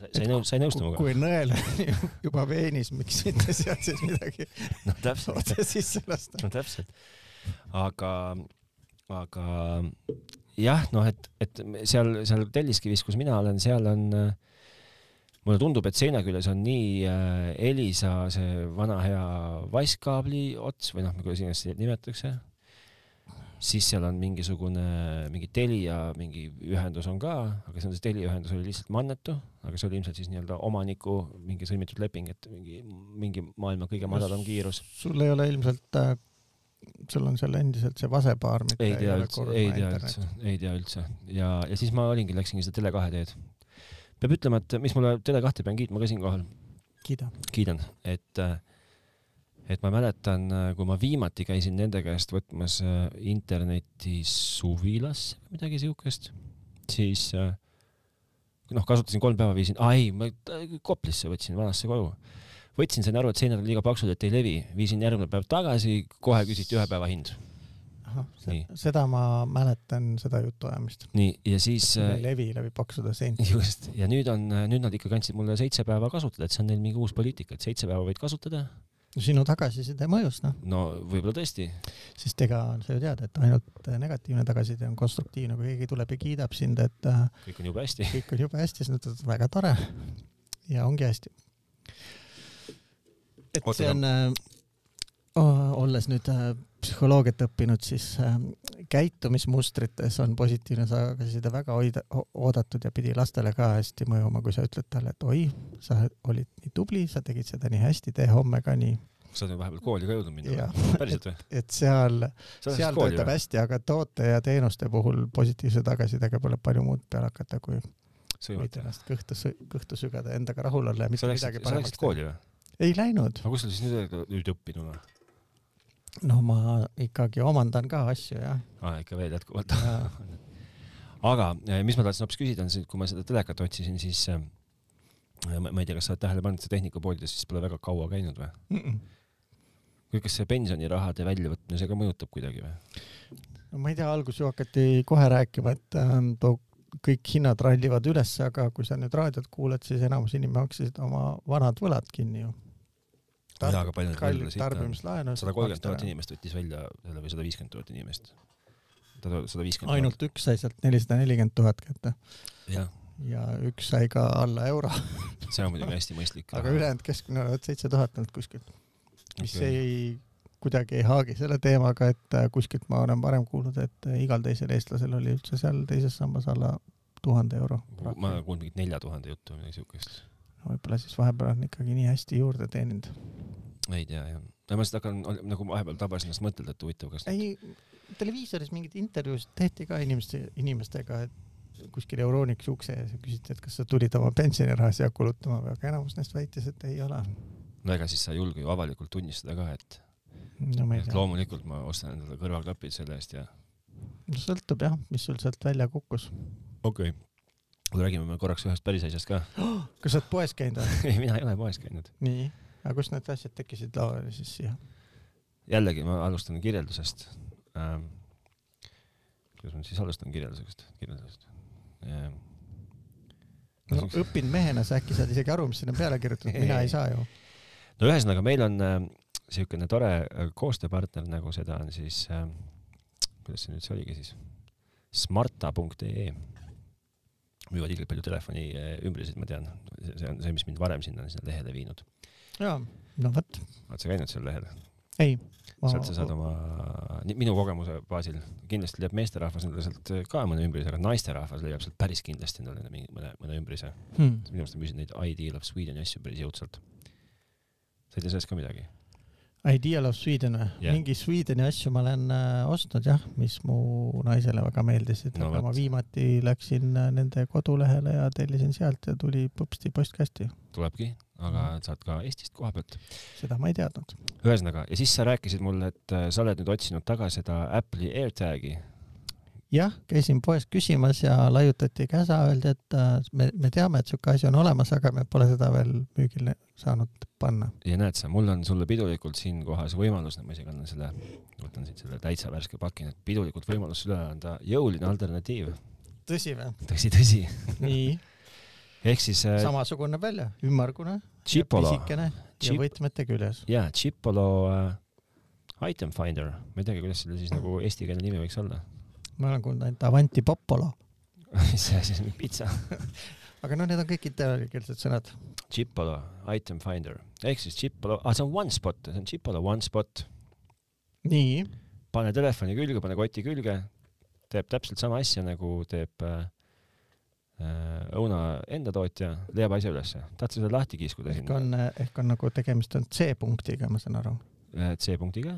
Speaker 1: sa ei nõu- , sa ei nõustu minuga ?
Speaker 2: kui nõel *laughs* on juba veenis , miks *laughs* mitte sealt siis midagi
Speaker 1: noh ,
Speaker 2: *laughs*
Speaker 1: täpselt ,
Speaker 2: otse sisse lasta .
Speaker 1: no täpselt . aga , aga jah , noh , et , et seal , seal Telliskivis , kus mina olen , seal on , mulle tundub , et seina küljes on nii äh, Elisa see vana hea vaskkaabli ots või noh , kuidas iganes seda nimetatakse , siis seal on mingisugune , mingi Telia mingi ühendus on ka , aga see on see Telia ühendus oli lihtsalt mannetu , aga see oli ilmselt siis nii-öelda omaniku mingi sõlmitud leping , et mingi , mingi maailma kõige madalam kiirus .
Speaker 2: sul ei ole ilmselt äh, sul on seal endiselt see vasepaar, mida
Speaker 1: ei tea
Speaker 2: ole
Speaker 1: üldse ,
Speaker 2: kurb
Speaker 1: ei tea üldse , ei tea üldse ja , ja siis ma olingi , läksingi seda Tele2 teed . peab ütlema , et mis mulle Tele2 pean kiitma ka siinkohal ,
Speaker 2: kiida .
Speaker 1: kiidan , et , et ma mäletan , kui ma viimati käisin nende käest võtmas äh, internetis suvilas midagi siukest , siis äh, noh , kasutasin kolm päeva , viisin , aa ei , ma ta- Koplisse võtsin , vanasse koju . võtsin , sain aru , et seinad on liiga paksud , et ei levi , viisin järgmine päev tagasi , kohe küsiti ühe päeva hind . Nii.
Speaker 2: seda ma mäletan , seda jutuajamist .
Speaker 1: nii , ja siis
Speaker 2: see
Speaker 1: äh,
Speaker 2: ei levi läbi paksude seinte .
Speaker 1: *laughs* just , ja nüüd on , nüüd nad ikka kandsid mulle seitse päeva kasutada , et see on neil mingi uus poliitika , et seitse päeva võid kasutada .
Speaker 2: sinu tagasiside mõjus , noh ,
Speaker 1: no võib-olla tõesti ,
Speaker 2: sest ega sa ju tead , et ainult negatiivne tagasiside on konstruktiivne , kui keegi tuleb ja kiidab sind , et äh,
Speaker 1: kõik on jube hästi .
Speaker 2: kõik on jube hästi , siis nad ütlevad väga tore ja ongi hästi . et
Speaker 1: Oota,
Speaker 2: see on , olles nüüd äh, psühholoogiat õppinud , siis äh, käitumismustrites on positiivne tagasiside väga hoida, o- oodatud ja pidi lastele ka hästi mõjuma , kui sa ütled talle , et oi , sa olid nii tubli , sa tegid seda nii hästi , tee homme ka nii .
Speaker 1: sa oled vahepeal kooli ka jõudnud minna
Speaker 2: Jaa.
Speaker 1: või ? päriselt või ?
Speaker 2: et seal ,
Speaker 1: sa lähed
Speaker 2: seal
Speaker 1: kooli
Speaker 2: töötab
Speaker 1: või ?
Speaker 2: hästi , aga toote ja teenuste puhul positiivse tagasisidega pole palju muud peale hakata , kui võid
Speaker 1: sõimata .
Speaker 2: ennast kõhtu , kõhtu sügada , endaga rahul olla ja
Speaker 1: sa
Speaker 2: mitte
Speaker 1: läksid sa
Speaker 2: midagi ,
Speaker 1: läksid
Speaker 2: paremaks teha .
Speaker 1: kooli või ?
Speaker 2: ei läinud ,
Speaker 1: aga kus sa siis nüüd , nüüd õppinud oled ?
Speaker 2: no ma ikkagi omandan ka asju *laughs* jah .
Speaker 1: aa , ikka veel jätkuvalt . aga eh, mis ma tahtsin hoopis küsida , on see , et kui ma seda telekat otsisin , siis eh, ma ma ei tea , kas sa oled tähele pannud , see tehnikapoodides siis pole väga kaua käinud või ?
Speaker 2: no
Speaker 1: kas see pensionirahade väljavõtmise ka mõjutab kuidagi või ?
Speaker 2: ma ei tea , alguses ju hakati kohe rääkima , et ähm, too kõik hinnad rallivad üles , aga kui sa nüüd raadiot kuulad , siis enamus inimesi maksid oma vanad võlad kinni ju .
Speaker 1: jaa , aga palju neid veel
Speaker 2: kallid
Speaker 1: siit on ?
Speaker 2: tarbimislaenu .
Speaker 1: sada kolmkümmend tuhat . inimest võttis välja selle või sada viiskümmend tuhat inimest . sada viiskümmend .
Speaker 2: ainult üks sai sealt nelisada nelikümmend tuhat kätte
Speaker 1: jah ,
Speaker 2: ja üks sai ka alla euro ,
Speaker 1: see on muidugi hästi mõistlik .
Speaker 2: aga ülejäänud keskmine olevat seitse tuhat olnud kuskilt , mis ei , kuidagi ei haagi selle teemaga , et äh, kuskilt ma olen varem kuulnud , et äh, igal teisel eestlasel oli üldse seal teises sambas alla tuhande euro .
Speaker 1: ma olen kuulnud mingit nelja tuhande juttu või midagi siukest .
Speaker 2: võib-olla siis vahepeal on ikkagi nii hästi juurde teeninud .
Speaker 1: ei tea jah . no ma lihtsalt hakkan nagu vahepeal tabasin ennast mõtelda , et huvitav , kas
Speaker 2: ei , televiisoris mingeid intervjuusid tehti ka inimeste , inimestega , et kuskil Euroniks ukse ees ja küsiti , et kas sa tulid oma pensioniraha siia kulutama või , aga enamus neist väitis , et ei ole .
Speaker 1: no ega siis sa ei julge ju avalikult tunnistada ka , et,
Speaker 2: no ma ei
Speaker 1: et
Speaker 2: tea ,
Speaker 1: loomulikult ma ostan endale kõrvaklapid selle eest ja
Speaker 2: sõltub jah , mis sul sealt välja kukkus .
Speaker 1: okei okay. kuule , räägime me korraks ühest päris asjast ka . *laughs*
Speaker 2: kas sa oled poes käinud või ?
Speaker 1: ei , mina ei ole poes käinud .
Speaker 2: *laughs* nii , aga kust need asjad tekkisid lauale siis siia ?
Speaker 1: jällegi ma alustan kirjeldusest ähm, . kuidas ma siis alustan kirjeldusest , kirjeldusest ähm, ?
Speaker 2: no õppinud mehena sa äkki saad isegi aru , mis sinna peale kirjutatud , mina ei saa ju .
Speaker 1: no ühesõnaga , meil on äh, siukene tore äh, koostööpartner , nagu seda on siis äh, , kuidas see nüüd see oligi siis , smarta.ee müüvad ilgelt palju telefoni äh, ümbriseid , ma tean , see on see , mis mind varem sinna, sinna lehele viinud .
Speaker 2: jaa , no vot ,
Speaker 1: oled sa käinud seal lehel ?
Speaker 2: ei .
Speaker 1: sealt sa saad oma , minu kogemuse baasil , kindlasti leiab meesterahvas endale sealt äh, ka mõne ümbrise , aga naisterahvas leiab sealt päris kindlasti endale mingi mõne , mõne ümbrise .
Speaker 2: hmm. .
Speaker 1: minu arust ma müüsin neid Ideal of Swedeni asju päris jõudsalt . sa ei tea sellest ka midagi ?
Speaker 2: Ideal of Sweden või
Speaker 1: Jah.
Speaker 2: yeah. ? mingi Swedeni asju ma olen äh, ostnud jah , mis mu naisele väga meeldisid
Speaker 1: No
Speaker 2: no, , aga
Speaker 1: vot.
Speaker 2: ma viimati läksin äh, nende kodulehele ja tellisin sealt ja tuli põpsti postkasti .
Speaker 1: tulebki , aga saad ka Eestist koha pealt .
Speaker 2: seda ma ei teadnud .
Speaker 1: ühesõnaga , ja siis sa rääkisid mulle , et äh, sa oled nüüd otsinud taga seda Apple'i AirTagi .
Speaker 2: jah , käisin poes küsimas ja laiutati käsa , öeldi , et äh, me , me teame , et siuke asi on olemas , aga me pole seda veel müügile saanud panna .
Speaker 1: ja näed sa , mul on sulle pidulikult siinkohas võimalus , ma isegi annan selle , võtan siit selle täitsa värske paki , nii et pidulikult võimalus üle anda , jõuline alternatiiv .
Speaker 2: tõsi või ?
Speaker 1: tõsi , tõsi .
Speaker 2: nii ,
Speaker 1: ehk siis äh,
Speaker 2: samasugune näeb välja , ümmargune ,
Speaker 1: Chipolo ,
Speaker 2: pisikene ja
Speaker 1: Chip-
Speaker 2: võtmete küljes .
Speaker 1: jaa , Chipolo äh, Item Finder , ma ei teagi , kuidas selle siis nagu eestikeelne nimi võiks olla . *laughs*
Speaker 2: ma olen kuulnud ainult Avanti Popolo ,
Speaker 1: mis see siis , pitsa ?
Speaker 2: aga noh , need on kõik itaalia-keelsed sõnad .
Speaker 1: Chipolo Item Finder ehk siis Chipolo ah, , see on One Spot , see on Chipolo One Spot
Speaker 2: nii
Speaker 1: pane telefoni külge , pane koti külge , teeb täpselt sama asja , nagu teeb äh, äh, õuna enda tootja , leiab asja ülesse . tahad sa selle lahti kiskuda
Speaker 2: ehk
Speaker 1: sinna
Speaker 2: on , ehk on nagu tegemist on C-punktiga , ma saan aru .
Speaker 1: äh, C punktiga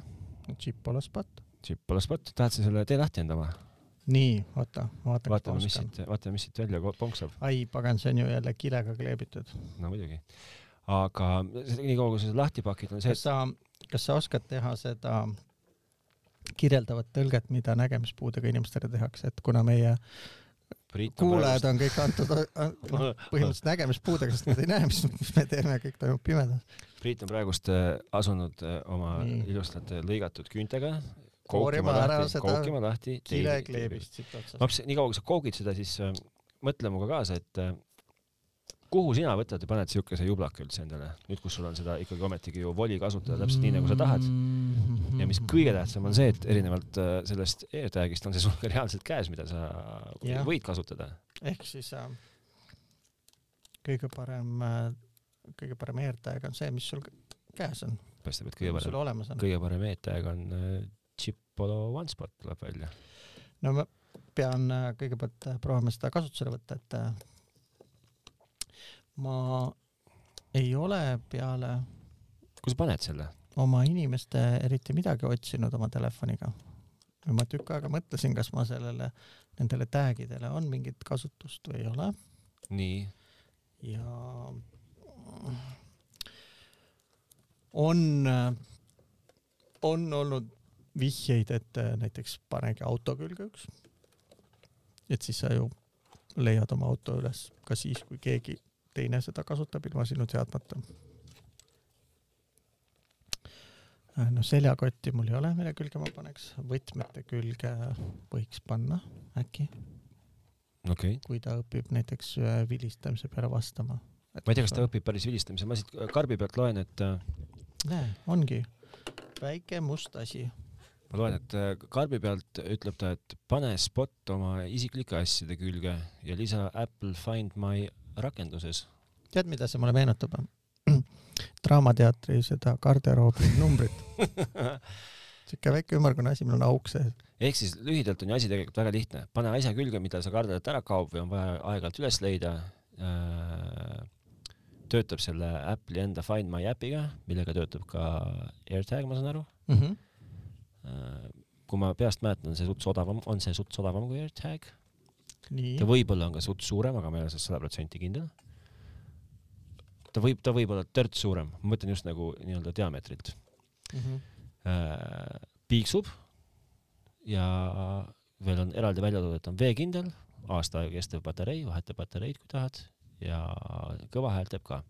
Speaker 2: Chipola spot .
Speaker 1: Chipola spot , tahad sa selle tee lahti enda oma ?
Speaker 2: nii , oota , vaatan , kas ma
Speaker 1: vaatame , mis
Speaker 2: oskan .
Speaker 1: siit , vaatame , mis siit välja ko- ponksab .
Speaker 2: ai , pagan , see on ju jälle kilega kleebitud .
Speaker 1: no muidugi . aga see- niikaua , kui sa selle lahti pakid , on see ,
Speaker 2: kas sa , kas sa oskad teha seda kirjeldavat tõlget , mida nägemispuudega inimestele tehakse , et kuna meie
Speaker 1: et Priit on
Speaker 2: kuulajad on kõik antud an,
Speaker 1: *laughs*
Speaker 2: noh,
Speaker 1: praegu ,
Speaker 2: põhimõtteliselt nägemispuudega , sest nad ei näe , mis , mis *laughs* me teeme , kõik toimub pimedas .
Speaker 1: Priit on praegust äh, asunud äh, oma
Speaker 2: Nii.
Speaker 1: ilusate lõigatud küüntega
Speaker 2: Koorima
Speaker 1: kookima
Speaker 2: ära
Speaker 1: lahti ,
Speaker 2: seda
Speaker 1: kookima lahti .
Speaker 2: kilekleebist siit otsast .
Speaker 1: laps , niikaua kui sa koogid seda , siis äh, mõtle minuga kaasa , et äh, kuhu sina võtad ja paned siukese jublaka üldse endale , nüüd kus sul on seda ikkagi ometigi ju voli kasutada täpselt nii , nagu sa tahad . ja
Speaker 2: Mhm.
Speaker 1: mis kõige . tähtsam on see , et erinevalt äh, sellest AirTagist on see sul ka reaalselt käes , mida sa
Speaker 2: Jah.
Speaker 1: võid kasutada .
Speaker 2: ehk siis äh, kõige parem , kõige parem AirTag on see , mis sul käes on ,
Speaker 1: paistab , et kõige
Speaker 2: mis sul
Speaker 1: parem ,
Speaker 2: olemas on .
Speaker 1: kõige parem AirTag on äh, Chipolo OneSpot tuleb välja .
Speaker 2: no ma pean äh, kõigepealt äh, proovima seda kasutusele võtta , et äh, ma ei ole peale
Speaker 1: kus sa paned selle ?
Speaker 2: oma inimeste eriti midagi otsinud oma telefoniga . ma tükk aega mõtlesin , kas ma sellele , nendele tag'idele on mingit kasutust või ei ole
Speaker 1: nii ,
Speaker 2: ja on , on olnud vihjeid , et äh, näiteks panegi auto külge üks . et siis sa ju leiad oma auto üles ka siis , kui keegi teine seda kasutab ilma sinu teadmata . Äh, no seljakotti mul ei ole , mille külge ma paneks , võtmete külge võiks panna äkki ,
Speaker 1: okei okay.
Speaker 2: kui ta õpib näiteks äh, vilistamise peale vastama .
Speaker 1: ma ei tea , kas ta õpib päris vilistamise , ma siit karbi pealt loen , et äh,
Speaker 2: näe , ongi väike must asi .
Speaker 1: ma loen , et äh, karbi pealt ütleb ta , et pane spot oma isiklike asjade külge ja lisa Apple Find My rakenduses .
Speaker 2: tead , mida see mulle meenutab ? *clears throat* draamateatri seda
Speaker 1: *laughs*
Speaker 2: garderoobi numbrit , siuke väike ümmargune asi , millel on auk sees .
Speaker 1: ehk siis lühidalt on ju asi tegelikult väga lihtne , pane asja külge , mida sa kardad , et ära kaob või on vaja aeg-ajalt üles leida . töötab selle Apple'i enda Find My äpiga , millega töötab ka AirTag , ma saan aru .
Speaker 2: mm . -hmm.
Speaker 1: kui ma peast mäletan , see suts odavam , on see suts odavam kui AirTag .
Speaker 2: nii
Speaker 1: ta , võib-olla on ka suts suurem , aga ma ei ole selles sada protsenti kindel . ta võib , ta võib olla törts suurem , ma mõtlen just nagu nii-öelda diameetrilt
Speaker 2: mm -hmm.
Speaker 1: äh, . piiksub ja veel on eraldi välja toodud , et on veekindel , aasta aega kestev patarei , vaheta patareid , kui tahad ja kõva hääl teeb ka .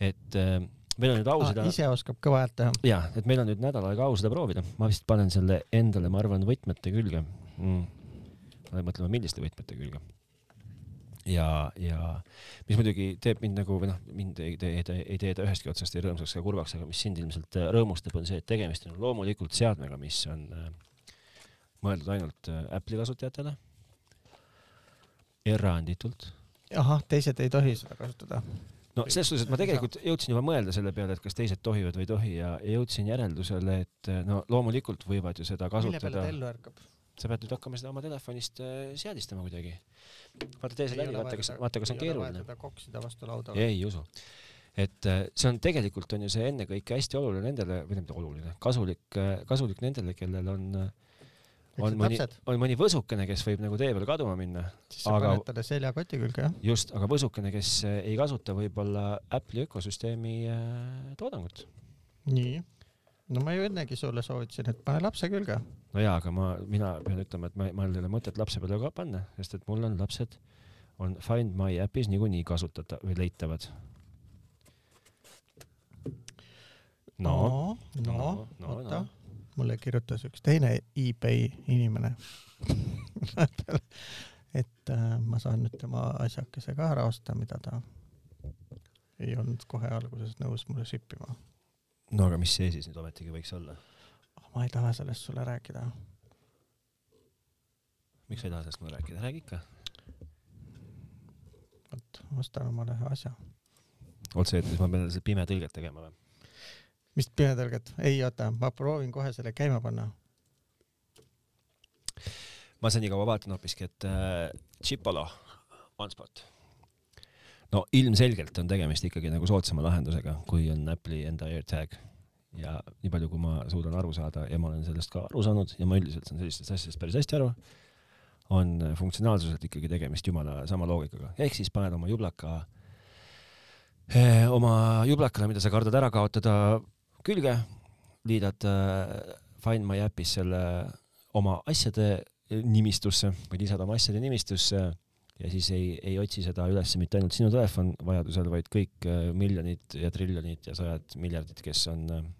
Speaker 1: et äh, meil on nüüd au seda
Speaker 2: ah, . ise oskab kõva häält teha .
Speaker 1: jaa , et meil on nüüd nädal aega au seda proovida , ma vist panen selle endale , ma arvan , võtmete külge mm. . ma pean mõtlema , milliste võtmete külge . ja , ja mis muidugi teeb mind nagu või noh , mind ei tee , ei tee ta ühestki otsast ei rõõmsaks ega kurvaks , aga mis sind ilmselt äh, rõõmustab , on see , et tegemist on loomulikult seadmega , mis on äh, mõeldud ainult äh, Apple'i kasutajatele . eranditult .
Speaker 2: ahah , teised ei tohi seda kasutada .
Speaker 1: no selles suhtes , et ma tegelikult jõudsin juba mõelda selle peale , et kas teised tohivad või ei tohi ja ja jõudsin järeldusele , et eh, no loomulikult võivad ju seda
Speaker 2: mille peale
Speaker 1: kasutada
Speaker 2: ta , ellu ärkab ?
Speaker 1: sa pead nüüd hakkama seda oma telefonist eh, seadistama kuidagi . vaata teise
Speaker 2: Ei
Speaker 1: läbi ,
Speaker 2: ole
Speaker 1: vaata kas
Speaker 2: vaja ,
Speaker 1: vaata kas on
Speaker 2: seda- ei ole vaja
Speaker 1: keeruline .
Speaker 2: teda koksida vastu lauda .
Speaker 1: ei usu . et eh, see on tegelikult on ju see ennekõike hästi oluline nendele , või mitte oluline , kasulik , kasulik nendele , kellel on , on mõni , on mõni võsukene , kes võib nagu tee peal kaduma minna .
Speaker 2: siis sa
Speaker 1: aga-
Speaker 2: paned talle seljakoti külge , jah ?
Speaker 1: just , aga võsukene , kes eh, ei kasuta võib-olla Apple'i ökosüsteemi eh, toodangut .
Speaker 2: nii . no ma ju ennegi sulle soovitasin , et pane lapse külge .
Speaker 1: no jaa , aga ma , mina pean ütlema , et ma , mul ei ole mõtet lapse peale ka panna , sest et mul on lapsed , on Find My äpis niikuinii kasutada või leitavad . no,
Speaker 2: no, no,
Speaker 1: no,
Speaker 2: no ,
Speaker 1: no,
Speaker 2: oota
Speaker 1: no.
Speaker 2: mulle kirjutas üks teine eBay inimene *laughs* et äh, ma saan nüüd tema asjakese ka ära osta , mida ta ei olnud kohe alguses nõus mulle sippima .
Speaker 1: no. , no aga mis see siis nüüd ometigi võiks olla ?
Speaker 2: ma ei taha sellest sulle rääkida .
Speaker 1: miks sa ei taha sellest mulle rääkida , räägi ikka .
Speaker 2: vot , ostan omale ühe asja .
Speaker 1: otse-eetris ma pean selle pime tõlget tegema või ?
Speaker 2: mis pimetõlget ? ei , oota , ma proovin kohe selle käima panna .
Speaker 1: ma senikaua vaatan hoopiski , et äh, Chipolo OneSpot . no ilmselgelt on tegemist ikkagi nagu soodsama lahendusega , kui on Apple'i enda AirTag ja nii palju , kui ma suudan aru saada ja ma olen sellest ka aru saanud ja ma üldiselt saan sellistest asjadest päris hästi aru , on funktsionaalsuselt ikkagi tegemist jumala sama loogikaga , ehk siis paned oma jublaka , oma jublakale , mida sa kardad ära kaotada , külge , liidad eh, Find My äpis selle oma asjade nimistusse , võid lisada oma asjade nimistusse ja siis ei , ei otsi seda üles mitte ainult sinu telefon vajadusel , vaid kõik eh, miljonid ja triljonid ja sajad miljardid , kes on eh,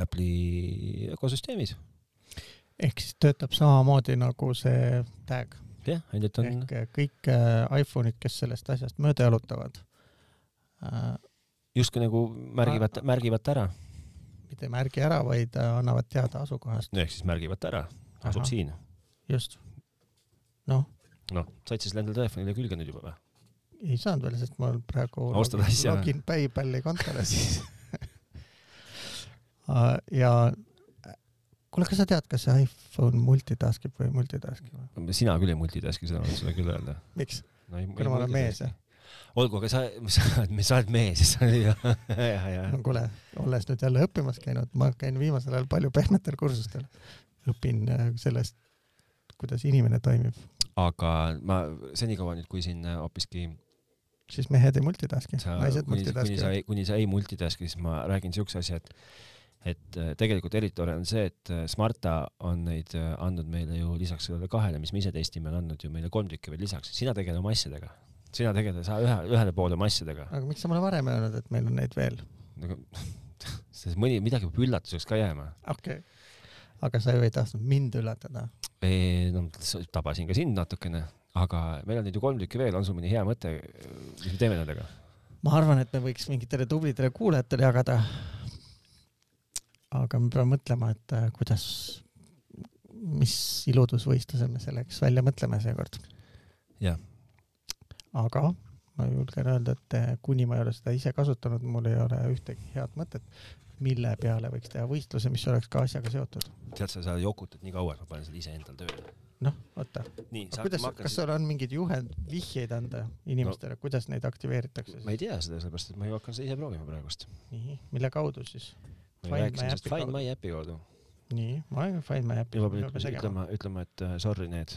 Speaker 1: Apple'i ökosüsteemis .
Speaker 2: ehk siis töötab samamoodi nagu see tag
Speaker 1: jah , ainult on ,
Speaker 2: ehk kõik äh, iPhone'id , kes sellest asjast mööda jalutavad äh, ,
Speaker 1: justkui nagu
Speaker 2: Ah.
Speaker 1: märgivad , märgivad ta ära .
Speaker 2: mitte ei märgi ära , vaid äh, annavad teada asukohast .
Speaker 1: ehk siis märgivad ta ära , asub
Speaker 2: Ahah.
Speaker 1: siin .
Speaker 2: just . noh ,
Speaker 1: noh , said siis endale telefonile külge nüüd juba või ?
Speaker 2: ei saanud veel , sest mul praegu
Speaker 1: Austad
Speaker 2: login-
Speaker 1: asja.
Speaker 2: login PayPali kontole siis *laughs* Äh, ja kuule , kas sa tead , kas see iPhone multitask ib või ei multitask ib või ?
Speaker 1: sina küll ei multitask'i , seda ma võin sulle küll öelda .
Speaker 2: miks ?
Speaker 1: no ei ,
Speaker 2: kuna ma olen mees jah ?.
Speaker 1: olgu , aga sa , sa oled , sa oled mees , sa oled jah , *laughs* jah , jah
Speaker 2: no . kuule , olles nüüd jälle õppimas käinud , ma käin viimasel ajal palju pehmetel kursustel . õpin äh, sellest , kuidas inimene toimib ,
Speaker 1: aga ma senikaua nüüd , kui siin äh, hoopiski
Speaker 2: siis mehed ei multitask'i ,
Speaker 1: sa ,
Speaker 2: naised
Speaker 1: kuni, kuni sa
Speaker 2: multitask'ivad .
Speaker 1: ei , kuni sa ei multitask'i , siis ma räägin siukse asja , et et äh, tegelikult eriti tore on see , et äh, Smarta on neid äh, andnud meile ju lisaks sellele kahele , mis me ise testime , on andnud ju meile kolm tükki veel lisaks , sina tegele oma asjadega , sina tegele , sa ühe , ühele poole oma asjadega ,
Speaker 2: aga miks sa mulle varem ei öelnud , et meil on neid veel ?
Speaker 1: nagu *laughs* sest mõni , midagi peab üllatuseks ka jääma .
Speaker 2: okei okay. . aga sa ju ei tahtnud mind üllatada .
Speaker 1: no s- tabasin ka sind natukene , aga meil on neid ju kolm tükki veel , on sul mõni hea mõte , mis me teeme nendega ?
Speaker 2: ma arvan , et me võiks mingitele tublidele kuulajatele jagada . aga me peame mõtlema , et äh, kuidas , mis iludusvõistluse me selleks välja mõtleme seekord .
Speaker 1: Jah. .
Speaker 2: aga ma julgen öelda , et äh, kuni ma ei ole seda ise kasutanud , mul ei ole ühtegi head mõtet , mille peale võiks teha võistluse , mis oleks ka asjaga seotud .
Speaker 1: tead sa , sa jokutad nii kaua , et ma panen selle ise endale tööle .
Speaker 2: noh , oota ,
Speaker 1: nii ,
Speaker 2: aga kuidas , kas sul on mingeid juhend , vihjeid anda inimestele no. , kuidas neid aktiveeritakse
Speaker 1: ma
Speaker 2: siis ?
Speaker 1: ei tea seda , sellepärast et ma ju hakkan seda ise proovima praegust .
Speaker 2: nii , mille kaudu siis ?
Speaker 1: ma
Speaker 2: Find
Speaker 1: ju
Speaker 2: My
Speaker 1: rääkisin just
Speaker 2: äpi
Speaker 1: Find
Speaker 2: kaudu.
Speaker 1: My äpi kaudu .
Speaker 2: nii , ma olen Find My äpis .
Speaker 1: juba peab nüüd ütlema , ütlema , et äh, sorry , need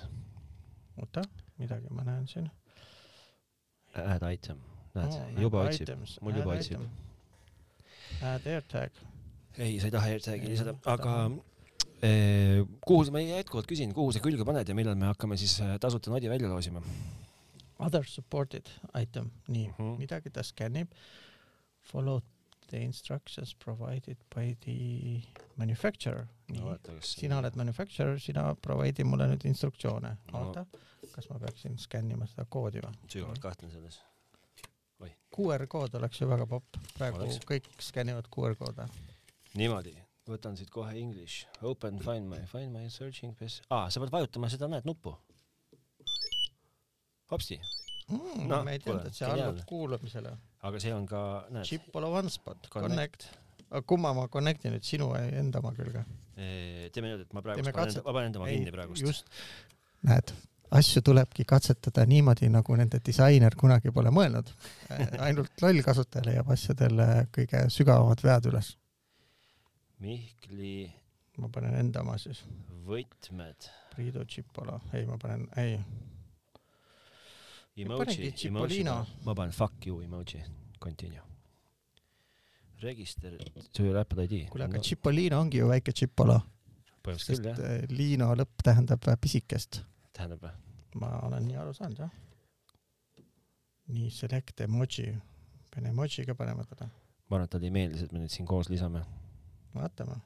Speaker 2: oota , midagi ma näen siin .
Speaker 1: add item . näed , juba otsib . mul juba otsib. .
Speaker 2: Add AirTag .
Speaker 1: ei , sa ei taha AirTagi
Speaker 2: Ei,
Speaker 1: lisada ,
Speaker 2: ei
Speaker 1: aga
Speaker 2: taha.
Speaker 1: eh, kuhu sa , ma jätkuvalt küsin , kuhu sa külge paned ja millal me hakkame siis eh, tasuta nodi välja loosima
Speaker 2: Other supported item , nii mm , -hmm.
Speaker 1: Mhm.
Speaker 2: midagi ta skännib . Follow the instructions provided by the manufacturer . nii , sina . oled manufacturer , sina provide'i mulle nüüd instruktsioone .
Speaker 1: No.
Speaker 2: oota , kas ma peaksin skännima seda koodi või ?
Speaker 1: sügavalt kahtlen selles .
Speaker 2: QR kood oleks ju väga popp , praegu
Speaker 1: Oleks.
Speaker 2: kõik skännivad QR koode .
Speaker 1: niimoodi , võtan siit kohe English , open find my , find my searching best . aa , sa pead vajutama seda , näed , nuppu . hopsti ,
Speaker 2: mm, no,
Speaker 1: Noh,
Speaker 2: ma ei
Speaker 1: kuule,
Speaker 2: teadnud , et see allub
Speaker 1: geniaalne.
Speaker 2: kuulamisele .
Speaker 1: aga see on ka , näed ,
Speaker 2: Chip pole one spot ,
Speaker 1: Connect.
Speaker 2: connect, connect. . kumma ma connect'i nüüd sinu ja enda oma külge ?
Speaker 1: teeme niimoodi , et ma praegu
Speaker 2: Teeme
Speaker 1: panen
Speaker 2: katse- ,
Speaker 1: ma panen enda oma kinni praegust .
Speaker 2: just , näed , asju tulebki katsetada niimoodi , nagu nende disainer kunagi pole *laughs* mõelnud . ainult loll kasutaja leiab asjadele kõige sügavamad vead üles .
Speaker 1: Mihkli
Speaker 2: ma panen enda oma siis ,
Speaker 1: võtmed ,
Speaker 2: Priidu Chipolo , ei , ma panen , ei ,
Speaker 1: emoji
Speaker 2: panengi ,
Speaker 1: emoji
Speaker 2: Cipollino. ,
Speaker 1: ma panen fuck you emoji , continue . Register to your Apple ID .
Speaker 2: kuule , aga Chipolino ongi ju väike Chipolo ,
Speaker 1: põhimõtteliselt
Speaker 2: sest
Speaker 1: küll jah ,
Speaker 2: eh, liino lõpp tähendab pisikest .
Speaker 1: tähendab jah .
Speaker 2: ma olen nii aru saanud jah . nii select emoji , pean emoji ka panema teda ,
Speaker 1: ma arvan , et talle ei meeldi see , et me nüüd siin koos lisame .
Speaker 2: vaatame .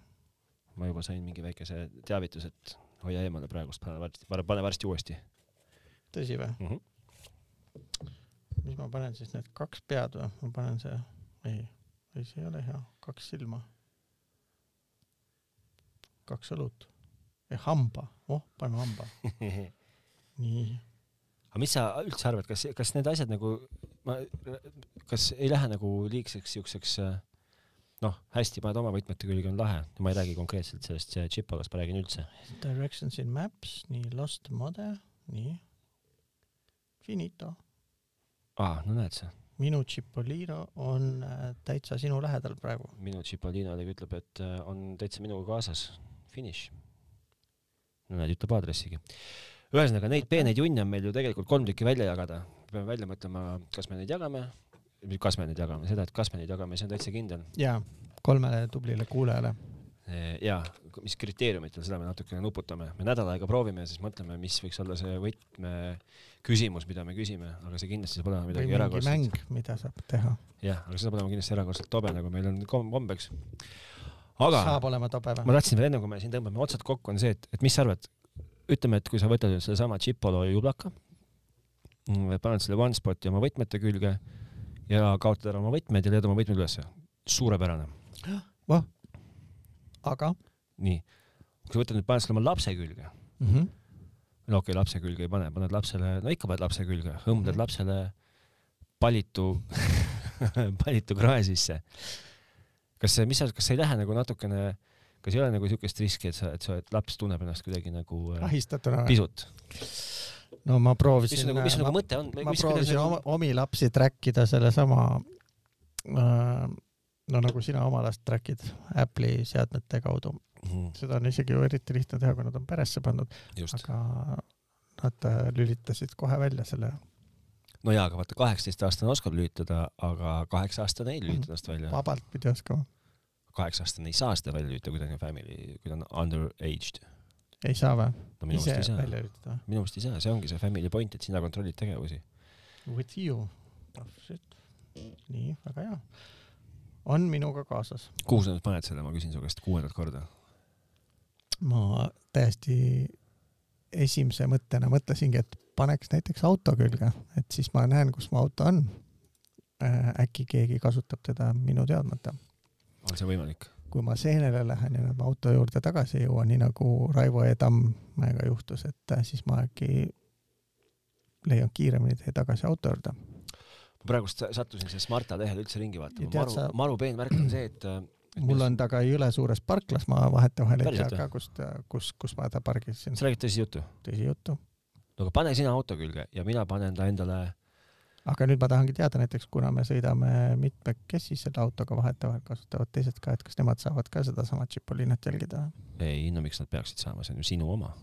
Speaker 1: ma juba sain mingi väikese teavituse , et hoia eemale praegust , pane varsti , pane varsti uuesti
Speaker 2: tõsi või ,
Speaker 1: mm . -hmm.
Speaker 2: mis ma panen siis need kaks pead või , ma panen see , ei , ei see ei ole hea , kaks silma . kaks õlut , hamba , oh paneme hamba , nii ,
Speaker 1: aga mis sa üldse arvad , kas , kas need asjad nagu , ma , kas ei lähe nagu liigseks siukseks äh, noh , hästi paned oma võtmete külge , on lahe , ma ei räägi konkreetselt sellest äh, Chipolast , ma räägin üldse .
Speaker 2: directions in maps , nii lost mode , nii . Finito ,
Speaker 1: aa , no näed sa ,
Speaker 2: minu Cipollino on äh, täitsa sinu lähedal praegu .
Speaker 1: minu Cipollino jällegi ütleb , et äh, on täitsa minuga kaasas , finiš . no näed , ütleb aadressigi . ühesõnaga neid peeneid junne on meil ju tegelikult kolm tükki välja jagada , peame välja mõtlema , kas me neid jagame , kas me neid jagame , seda , et kas me neid jagame , see on täitsa kindel .
Speaker 2: jaa , kolmele tublile kuulajale .
Speaker 1: ja mis kriteeriumitel , seda me natukene nuputame , me nädal aega proovime ja siis mõtleme , mis võiks olla see võtmeküsimus , mida me küsime , aga see kindlasti saab olema
Speaker 2: või
Speaker 1: midagi
Speaker 2: mingi
Speaker 1: erakordset .
Speaker 2: mäng , mida saab teha .
Speaker 1: jah , aga see saab olema kindlasti erakordselt tobe , nagu meil on kom- kombeks . aga
Speaker 2: saab olema tobe
Speaker 1: ma
Speaker 2: või ?
Speaker 1: tahtsin veel enne , kui me siin tõmbame otsad kokku , on see , et , et mis sa arvad , ütleme , et kui sa võtad nüüd sellesama Chipolo jublaka , paned selle OneSpoti oma võtmete külge ja kaotad ära oma võtmed ja leiad oma võtmed ülesse . suurepärane .
Speaker 2: aga
Speaker 1: nii . kui sa võtad nüüd , paned selle oma lapse külge ,
Speaker 2: mm . -hmm.
Speaker 1: no okei okay, , lapse külge ei pane , paned lapsele , no ikka paned lapse külge , hõmbled lapsele palitu , *laughs* palitu krae sisse . kas see , mis sa , kas see ei lähe nagu natukene , kas ei ole nagu siukest riski , et sa , et sa , et laps tunneb ennast kuidagi nagu äh,
Speaker 2: ahistatuna või ?
Speaker 1: pisut ?
Speaker 2: no ma
Speaker 1: mis
Speaker 2: proovisin ,
Speaker 1: nagu , mis
Speaker 2: ma,
Speaker 1: nagu mõte on ?
Speaker 2: ma proovisin oma , omi lapsi track ida sellesama äh, no nagu sina oma last track'id Apple'i seadmete kaudu , seda on isegi ju eriti lihtne teha , kui nad on peresse pannud ,
Speaker 1: Mhm, just .
Speaker 2: aga nad äh, lülitasid kohe välja selle ,
Speaker 1: no jaa , aga vaata , kaheksateistaastane oskab lülitada , aga kaheksa-aastane ei lülita ennast välja .
Speaker 2: vabalt pidi oskama ,
Speaker 1: kaheksa-aastane ei saa seda välja lülitada , kui ta on ju family , kui ta on underaged .
Speaker 2: ei saa või ?
Speaker 1: no minu
Speaker 2: ise
Speaker 1: meelest ei saa .
Speaker 2: välja lülitada või ?
Speaker 1: minu meelest ei saa , see ongi see family point , et sina kontrollid tegevusi .
Speaker 2: With you . oh shit , nii , väga hea . on minuga kaasas .
Speaker 1: kuhu sa nüüd paned selle , ma küsin su käest kuuendat korda .
Speaker 2: ma täiesti esimese mõttena mõtlesingi , et paneks näiteks auto külge , et siis ma näen , kus mu auto on . äkki keegi kasutab teda minu teadmata .
Speaker 1: on see võimalik ?
Speaker 2: kui ma seenele lähen ja nüüd ma auto juurde tagasi ei jõua , nii nagu Raivo E. Tammega juhtus , et äh, siis ma äkki leian kiiremini tee tagasi auto juurde .
Speaker 1: ma praegust sa- sattusin selle Smarta lehel üldse ringi vaatama
Speaker 2: Ja . tead
Speaker 1: maru
Speaker 2: sa- ,
Speaker 1: maru peenmärk on see , et, äh, et
Speaker 2: mul on taga jõle suures parklas , ma vahetevahel ei tea
Speaker 1: Päriselt või?
Speaker 2: ka , kust , kus , kus ma ta pargisin
Speaker 1: sa , räägid tõsi juttu ?
Speaker 2: tõsi juttu .
Speaker 1: no aga pane sina auto külge ja mina panen ta endale ,
Speaker 2: aga nüüd ma tahangi teada näiteks , kuna me sõidame mitmekesi selle autoga vahetevahel , kasutavad teised ka , et kas nemad saavad ka sedasama Tšipolinat jälgida ?
Speaker 1: ei no miks nad peaksid saama , see on ju sinu oma .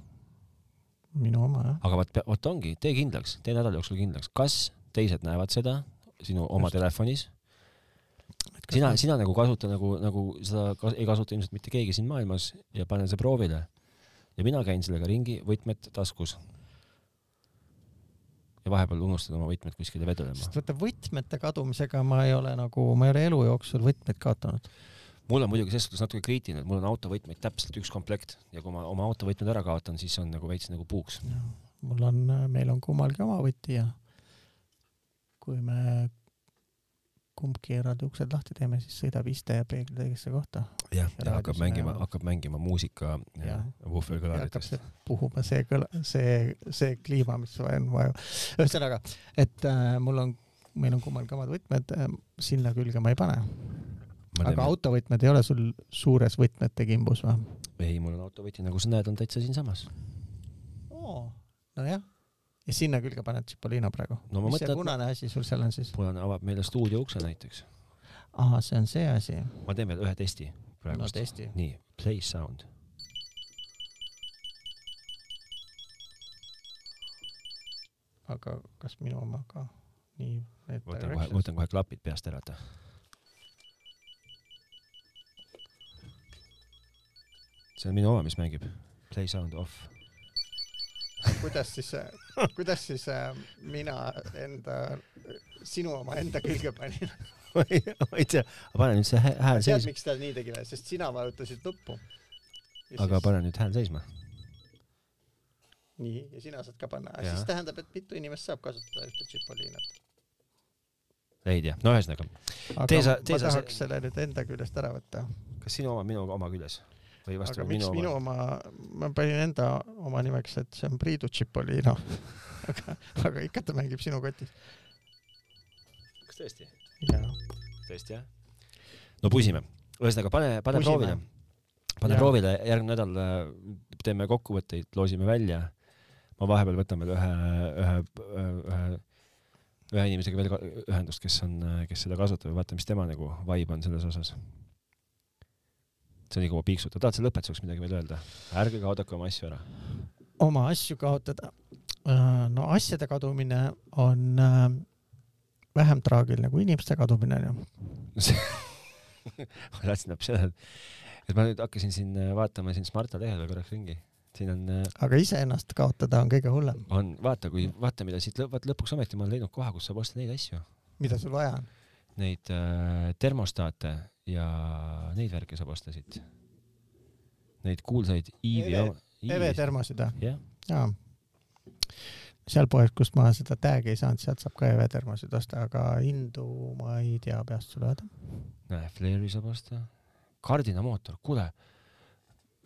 Speaker 2: minu oma jah .
Speaker 1: aga vot , vot ongi , tee kindlaks , tee nädala jooksul kindlaks , kas teised näevad seda sinu oma
Speaker 2: Just.
Speaker 1: Just. telefonis , sina , sina nagu kasuta nagu , nagu seda ka, ei kasuta ilmselt mitte keegi siin maailmas ja pane see proovile . ja mina käin sellega ringi , võtmed taskus . ja vahepeal unustan oma võtmed kuskile vedelema .
Speaker 2: sest vaata võtmete kadumisega ma ei ole nagu , ma ei ole elu jooksul võtmeid kaotanud .
Speaker 1: mul on muidugi selles suhtes natuke kriitiline , et mul on autovõtmeid täpselt üks komplekt ja kui ma oma autovõtmed ära kaotan , siis on nagu veits nagu puuks .
Speaker 2: mul on , meil on kummalgi oma võti ja kui me kumbki eraldi uksed lahti teeme , siis sõidab iste ja peegel teisesse kohta
Speaker 1: jah , ja
Speaker 2: ja
Speaker 1: hakkab
Speaker 2: raadios
Speaker 1: mängima ,
Speaker 2: näevad.
Speaker 1: hakkab mängima muusika äh,
Speaker 2: Jah. ja hakkab
Speaker 1: vuhvelkõlaritest
Speaker 2: see . puhuma see kõla , see , see kliima , mis on vaja . ühesõnaga , et äh, mul on , meil on kummalgi omad võtmed äh, , sinna külge ma ei pane . aga autovõtmed ei ole sul suures võtmete kimbus või
Speaker 1: ei , mul on autovõti , nagu sa näed , on täitsa siinsamas .
Speaker 2: oh, ? nojah . ja sinna külge paned Cipollino praegu
Speaker 1: No ma
Speaker 2: mis see
Speaker 1: mõtlen-
Speaker 2: punane asi sul seal on siis ?
Speaker 1: punane avab meile stuudio ukse näiteks .
Speaker 2: ahah , see on see asi .
Speaker 1: ma teen veel ühe testi
Speaker 2: no
Speaker 1: praegust no, .
Speaker 2: testi .
Speaker 1: nii , play sound .
Speaker 2: aga kas minu oma ka nii ?
Speaker 1: võtan kohe , võtan kohe klapid peast ära , et . see on minu oma , mis mängib . Play sound off . *laughs*
Speaker 2: kuidas siis , kuidas siis äh, mina enda , sinu oma enda külge panin ?
Speaker 1: ma ei ma ei tea , pane nüüd see hä- hääl
Speaker 2: tead ,
Speaker 1: seisma ,
Speaker 2: miks ta nii tegi või ? sest sina vajutasid nuppu .
Speaker 1: aga . pane nüüd hääl seisma .
Speaker 2: nii , ja sina saad ka panna .
Speaker 1: Jaa.
Speaker 2: siis tähendab , et mitu inimest saab kasutada ühte Tšipolinat .
Speaker 1: ei tea , no ühesõnaga ,
Speaker 2: aga
Speaker 1: Tee sa- tee
Speaker 2: ma
Speaker 1: sa
Speaker 2: tahaks see... selle nüüd enda küljest ära võtta .
Speaker 1: kas sinu oma , minu oma küljes või
Speaker 2: aga
Speaker 1: vastupidi
Speaker 2: miks
Speaker 1: minu
Speaker 2: minu
Speaker 1: oma ?
Speaker 2: oma , ma panin enda oma nimeks , et see on Priidu Tšipolino . *laughs* aga , aga ikka ta mängib sinu kotis .
Speaker 1: kas tõesti ?
Speaker 2: jaa .
Speaker 1: tõesti jah ? no pusime , ühesõnaga pane , pane
Speaker 2: Pusime.
Speaker 1: proovile , pane
Speaker 2: Jaa.
Speaker 1: ja. proovile , järgmine nädal äh, teeme kokkuvõtteid , loosime välja . ma vahepeal võtan veel ühe , ühe , ühe ühe inimesega veel ka- ühendust , kes on , kes seda kasutab ja vaata , mis tema nagu vibe on selles osas . see on nii kaua piiksutav , tahad sa lõpetuseks midagi veel öelda ? ärge kaotage oma asju ära . *laughs*
Speaker 2: oma asju kaotada . no asjade kadumine on äh, vähem traagiline kui inimeste kadumine onju .
Speaker 1: ma tahtsin täpselt seda , et et ma nüüd hakkasin siin äh, vaatama siin Smarta lehel veel korraks ringi . siin on , äh,
Speaker 2: aga iseennast kaotada on kõige hullem .
Speaker 1: on , vaata , kui , vaata , mida siit , vaata lõpuks ometi ma olen leidnud koha , kus saab osta neid asju ,
Speaker 2: mida sul vaja on ?
Speaker 1: neid äh, termostaate ja neid värke saab osta siit . Neid kuulsaid Iivi
Speaker 2: Eve- . EV E termosid või ?
Speaker 1: jah ,
Speaker 2: jaa . seal poes , kust ma seda tag'i ei saanud , sealt saab ka EV termosid osta , aga hindu ma ei tea peast sulle öelda .
Speaker 1: näe , Flairi saab osta . kardinamootor , kuule .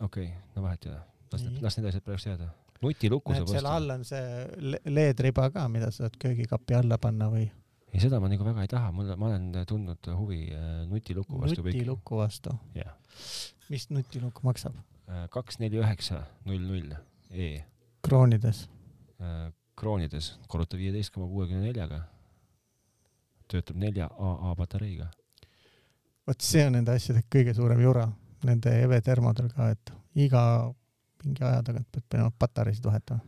Speaker 1: okei okay, , no vahet ei ole , las need ,
Speaker 2: Nii.
Speaker 1: las need asjad praegu jääda . nutilukku
Speaker 2: näed ,
Speaker 1: saab
Speaker 2: seal
Speaker 1: osta .
Speaker 2: all on see le- LED-riba ka , mida sa saad köögikapi alla panna või
Speaker 1: ei , seda ma nagu väga ei taha , mul , ma olen tundnud huvi äh, nutiluku vastu kõik .
Speaker 2: nutiluku vastu .
Speaker 1: jah ,
Speaker 2: mis nutilukk maksab ?
Speaker 1: kaks , neli , üheksa , null , null E
Speaker 2: kroonides .
Speaker 1: äh, kroonides , korruta viieteist koma kuuekümne neljaga . töötab nelja AA patareiga .
Speaker 2: vot see on nende asjade kõige suurem jura , nende EV termodel ka , et iga mingi aja tagant pead minema patareisid vahetama .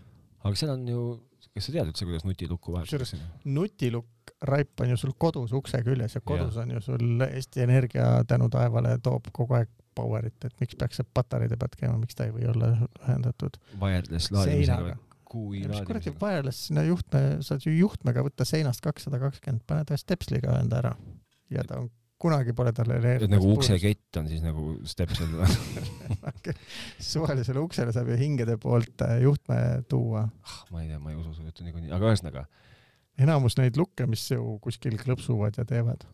Speaker 1: aga seal on ju , kas sa tead üldse , kuidas nutilukku
Speaker 2: Kusjuures-
Speaker 1: vahetatakse ?
Speaker 2: nutilukk raip on ju sul kodus ukse küljes ja kodus ja. on ju sul Eesti Energia tänu taevale toob kogu aeg power'it , et miks peaks see patareide pealt käima , miks ta ei või olla ühendatud
Speaker 1: Wireless laadimisega või
Speaker 2: seinaga .
Speaker 1: kui
Speaker 2: mis kuradi
Speaker 1: laadimisega ?
Speaker 2: wireless sinna juhtme , saad ju juhtmega võtta seinast kakssada kakskümmend , paned ühe stepsliga ühenda ära ja ta on , kunagi pole tal
Speaker 1: et nagu uksekett on siis nagu stepsel *laughs* või ?
Speaker 2: suvalisele uksele saab ju hingede poolt äh, juhtme tuua
Speaker 1: ma ei tea , ma ei usu su juttu niikuinii , aga ühesõnaga ,
Speaker 2: enamus neid lukke , mis ju kuskil klõpsuvad ja teevad .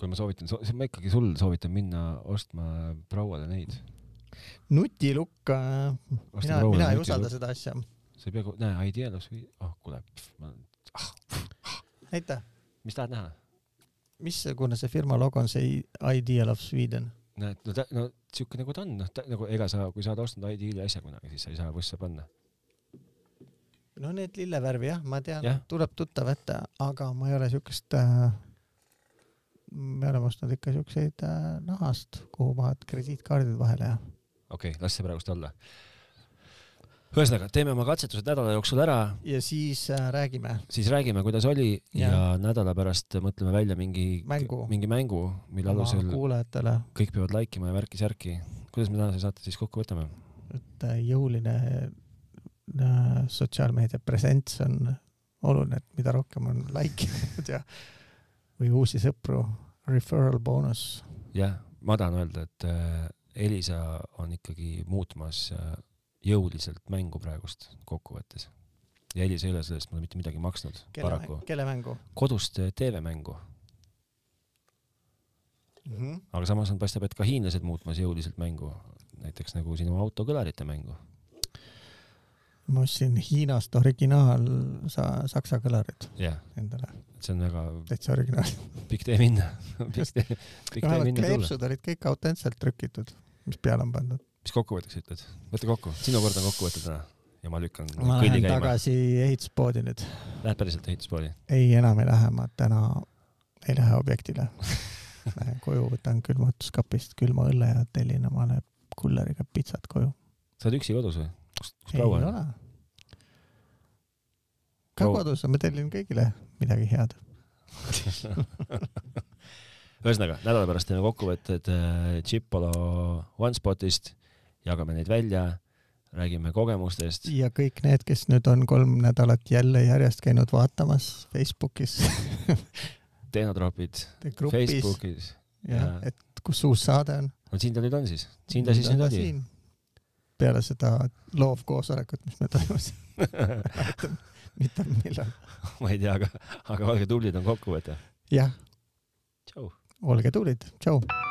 Speaker 1: kui ma soovitan , ma ikkagi sul soovitan minna ostma prouale neid .
Speaker 2: nutilukk , äh, mina , mina ei usalda . seda asja .
Speaker 1: sa ei pea , näe , ei tea , las või , ah kuule ,
Speaker 2: aitäh ,
Speaker 1: mis tahad näha ?
Speaker 2: missugune see firma logo on , see Ideal of Sweden ?
Speaker 1: näed , no ta , no siuke nagu ta on , noh , ta nagu ega sa , kui sa oled ostnud ID-le asja kunagi , siis sa ei saa võssa panna .
Speaker 2: no need lillevärvi jah , ma tean
Speaker 1: Jah. ,
Speaker 2: tuleb tuttav ette , aga ma ei ole siukest äh, , me oleme ostnud ikka siukseid äh, nahast , kuhu paned krediitkaardid vahele ja
Speaker 1: okei okay, , las see praegust olla . ühesõnaga , teeme oma katsetused nädala jooksul ära ,
Speaker 2: ja siis äh, räägime
Speaker 1: siis räägime , kuidas oli ja, ja
Speaker 2: Jah.
Speaker 1: nädala pärast mõtleme välja mingi
Speaker 2: Mängu.
Speaker 1: mingi mängu , mille
Speaker 2: oma
Speaker 1: alusel
Speaker 2: kuulajatele ,
Speaker 1: kõik peavad like ima ja värki-särki . kuidas me tänase saate siis kokku võtame ?
Speaker 2: et äh, jõuline äh, sotsiaalmeedia presents on oluline , et mida rohkem on like *laughs* inud ja või uusi sõpru , referral bonus .
Speaker 1: jah , ma tahan öelda , et äh, Elisa on ikkagi muutmas äh, jõuliselt mängu praegust kokkuvõttes . ja Elisa ei ole selle eest mulle mitte midagi maksnud ,
Speaker 2: kelle
Speaker 1: paraku .,
Speaker 2: kelle mängu
Speaker 1: kodust äh, TV-mängu ,
Speaker 2: mm ? -hmm.
Speaker 1: aga samas on , paistab , et ka hiinlased muutmas jõuliselt mängu , näiteks nagu sinu autokõlarite mängu .
Speaker 2: ma ostsin Hiinast originaal sa saksa kõlarid
Speaker 1: jah ,
Speaker 2: endale ,
Speaker 1: et see on väga *laughs*
Speaker 2: täitsa originaal .
Speaker 1: pikk tee minna .
Speaker 2: *laughs*
Speaker 1: pikk tee , pikk tee
Speaker 2: vähemalt
Speaker 1: minna tulla .
Speaker 2: kleepsud olid kõik autentselt trükitud , mis peale on pandud .
Speaker 1: mis kokkuvõtteks ütled ? võta kokku , sinu kord on kokkuvõte täna ja ma lükkan
Speaker 2: ma
Speaker 1: kõlli
Speaker 2: lähen
Speaker 1: käima .
Speaker 2: tagasi ehituspoodi nüüd .
Speaker 1: Lähed päriselt ehituspooli ?
Speaker 2: ei , enam ei lähe , ma täna ei lähe objektile .
Speaker 1: *laughs*
Speaker 2: Lähen koju , võtan külmutuskapist külma õlle ja tellin omale kulleriga pitsat koju .
Speaker 1: sa oled üksi kodus või ? kus , kus
Speaker 2: ei
Speaker 1: proua on ?
Speaker 2: ole . ka
Speaker 1: Proua-
Speaker 2: kodus , ma tellin kõigile midagi head .
Speaker 1: *laughs* ühesõnaga , nädala pärast teeme kokkuvõtted äh, Chipolo OneSpotist , jagame neid välja , räägime kogemustest .
Speaker 2: ja kõik need , kes nüüd on kolm nädalat jälle järjest käinud vaatamas
Speaker 1: *laughs*
Speaker 2: Facebookis
Speaker 1: tehnotropid
Speaker 2: grupis ,
Speaker 1: Facebookis .
Speaker 2: jah
Speaker 1: jaa. ,
Speaker 2: et kus uus saade on .
Speaker 1: no siin ta nüüd on siis , *laughs* siin ta siis nüüd oli .
Speaker 2: peale seda loovkoosolekut , mis meil toimus . *laughs* mitte millal .
Speaker 1: *laughs* ma ei tea , aga , aga olge tublid , on kokkuvõte .
Speaker 2: jah ,
Speaker 1: tšau .
Speaker 2: olge tublid , tšau .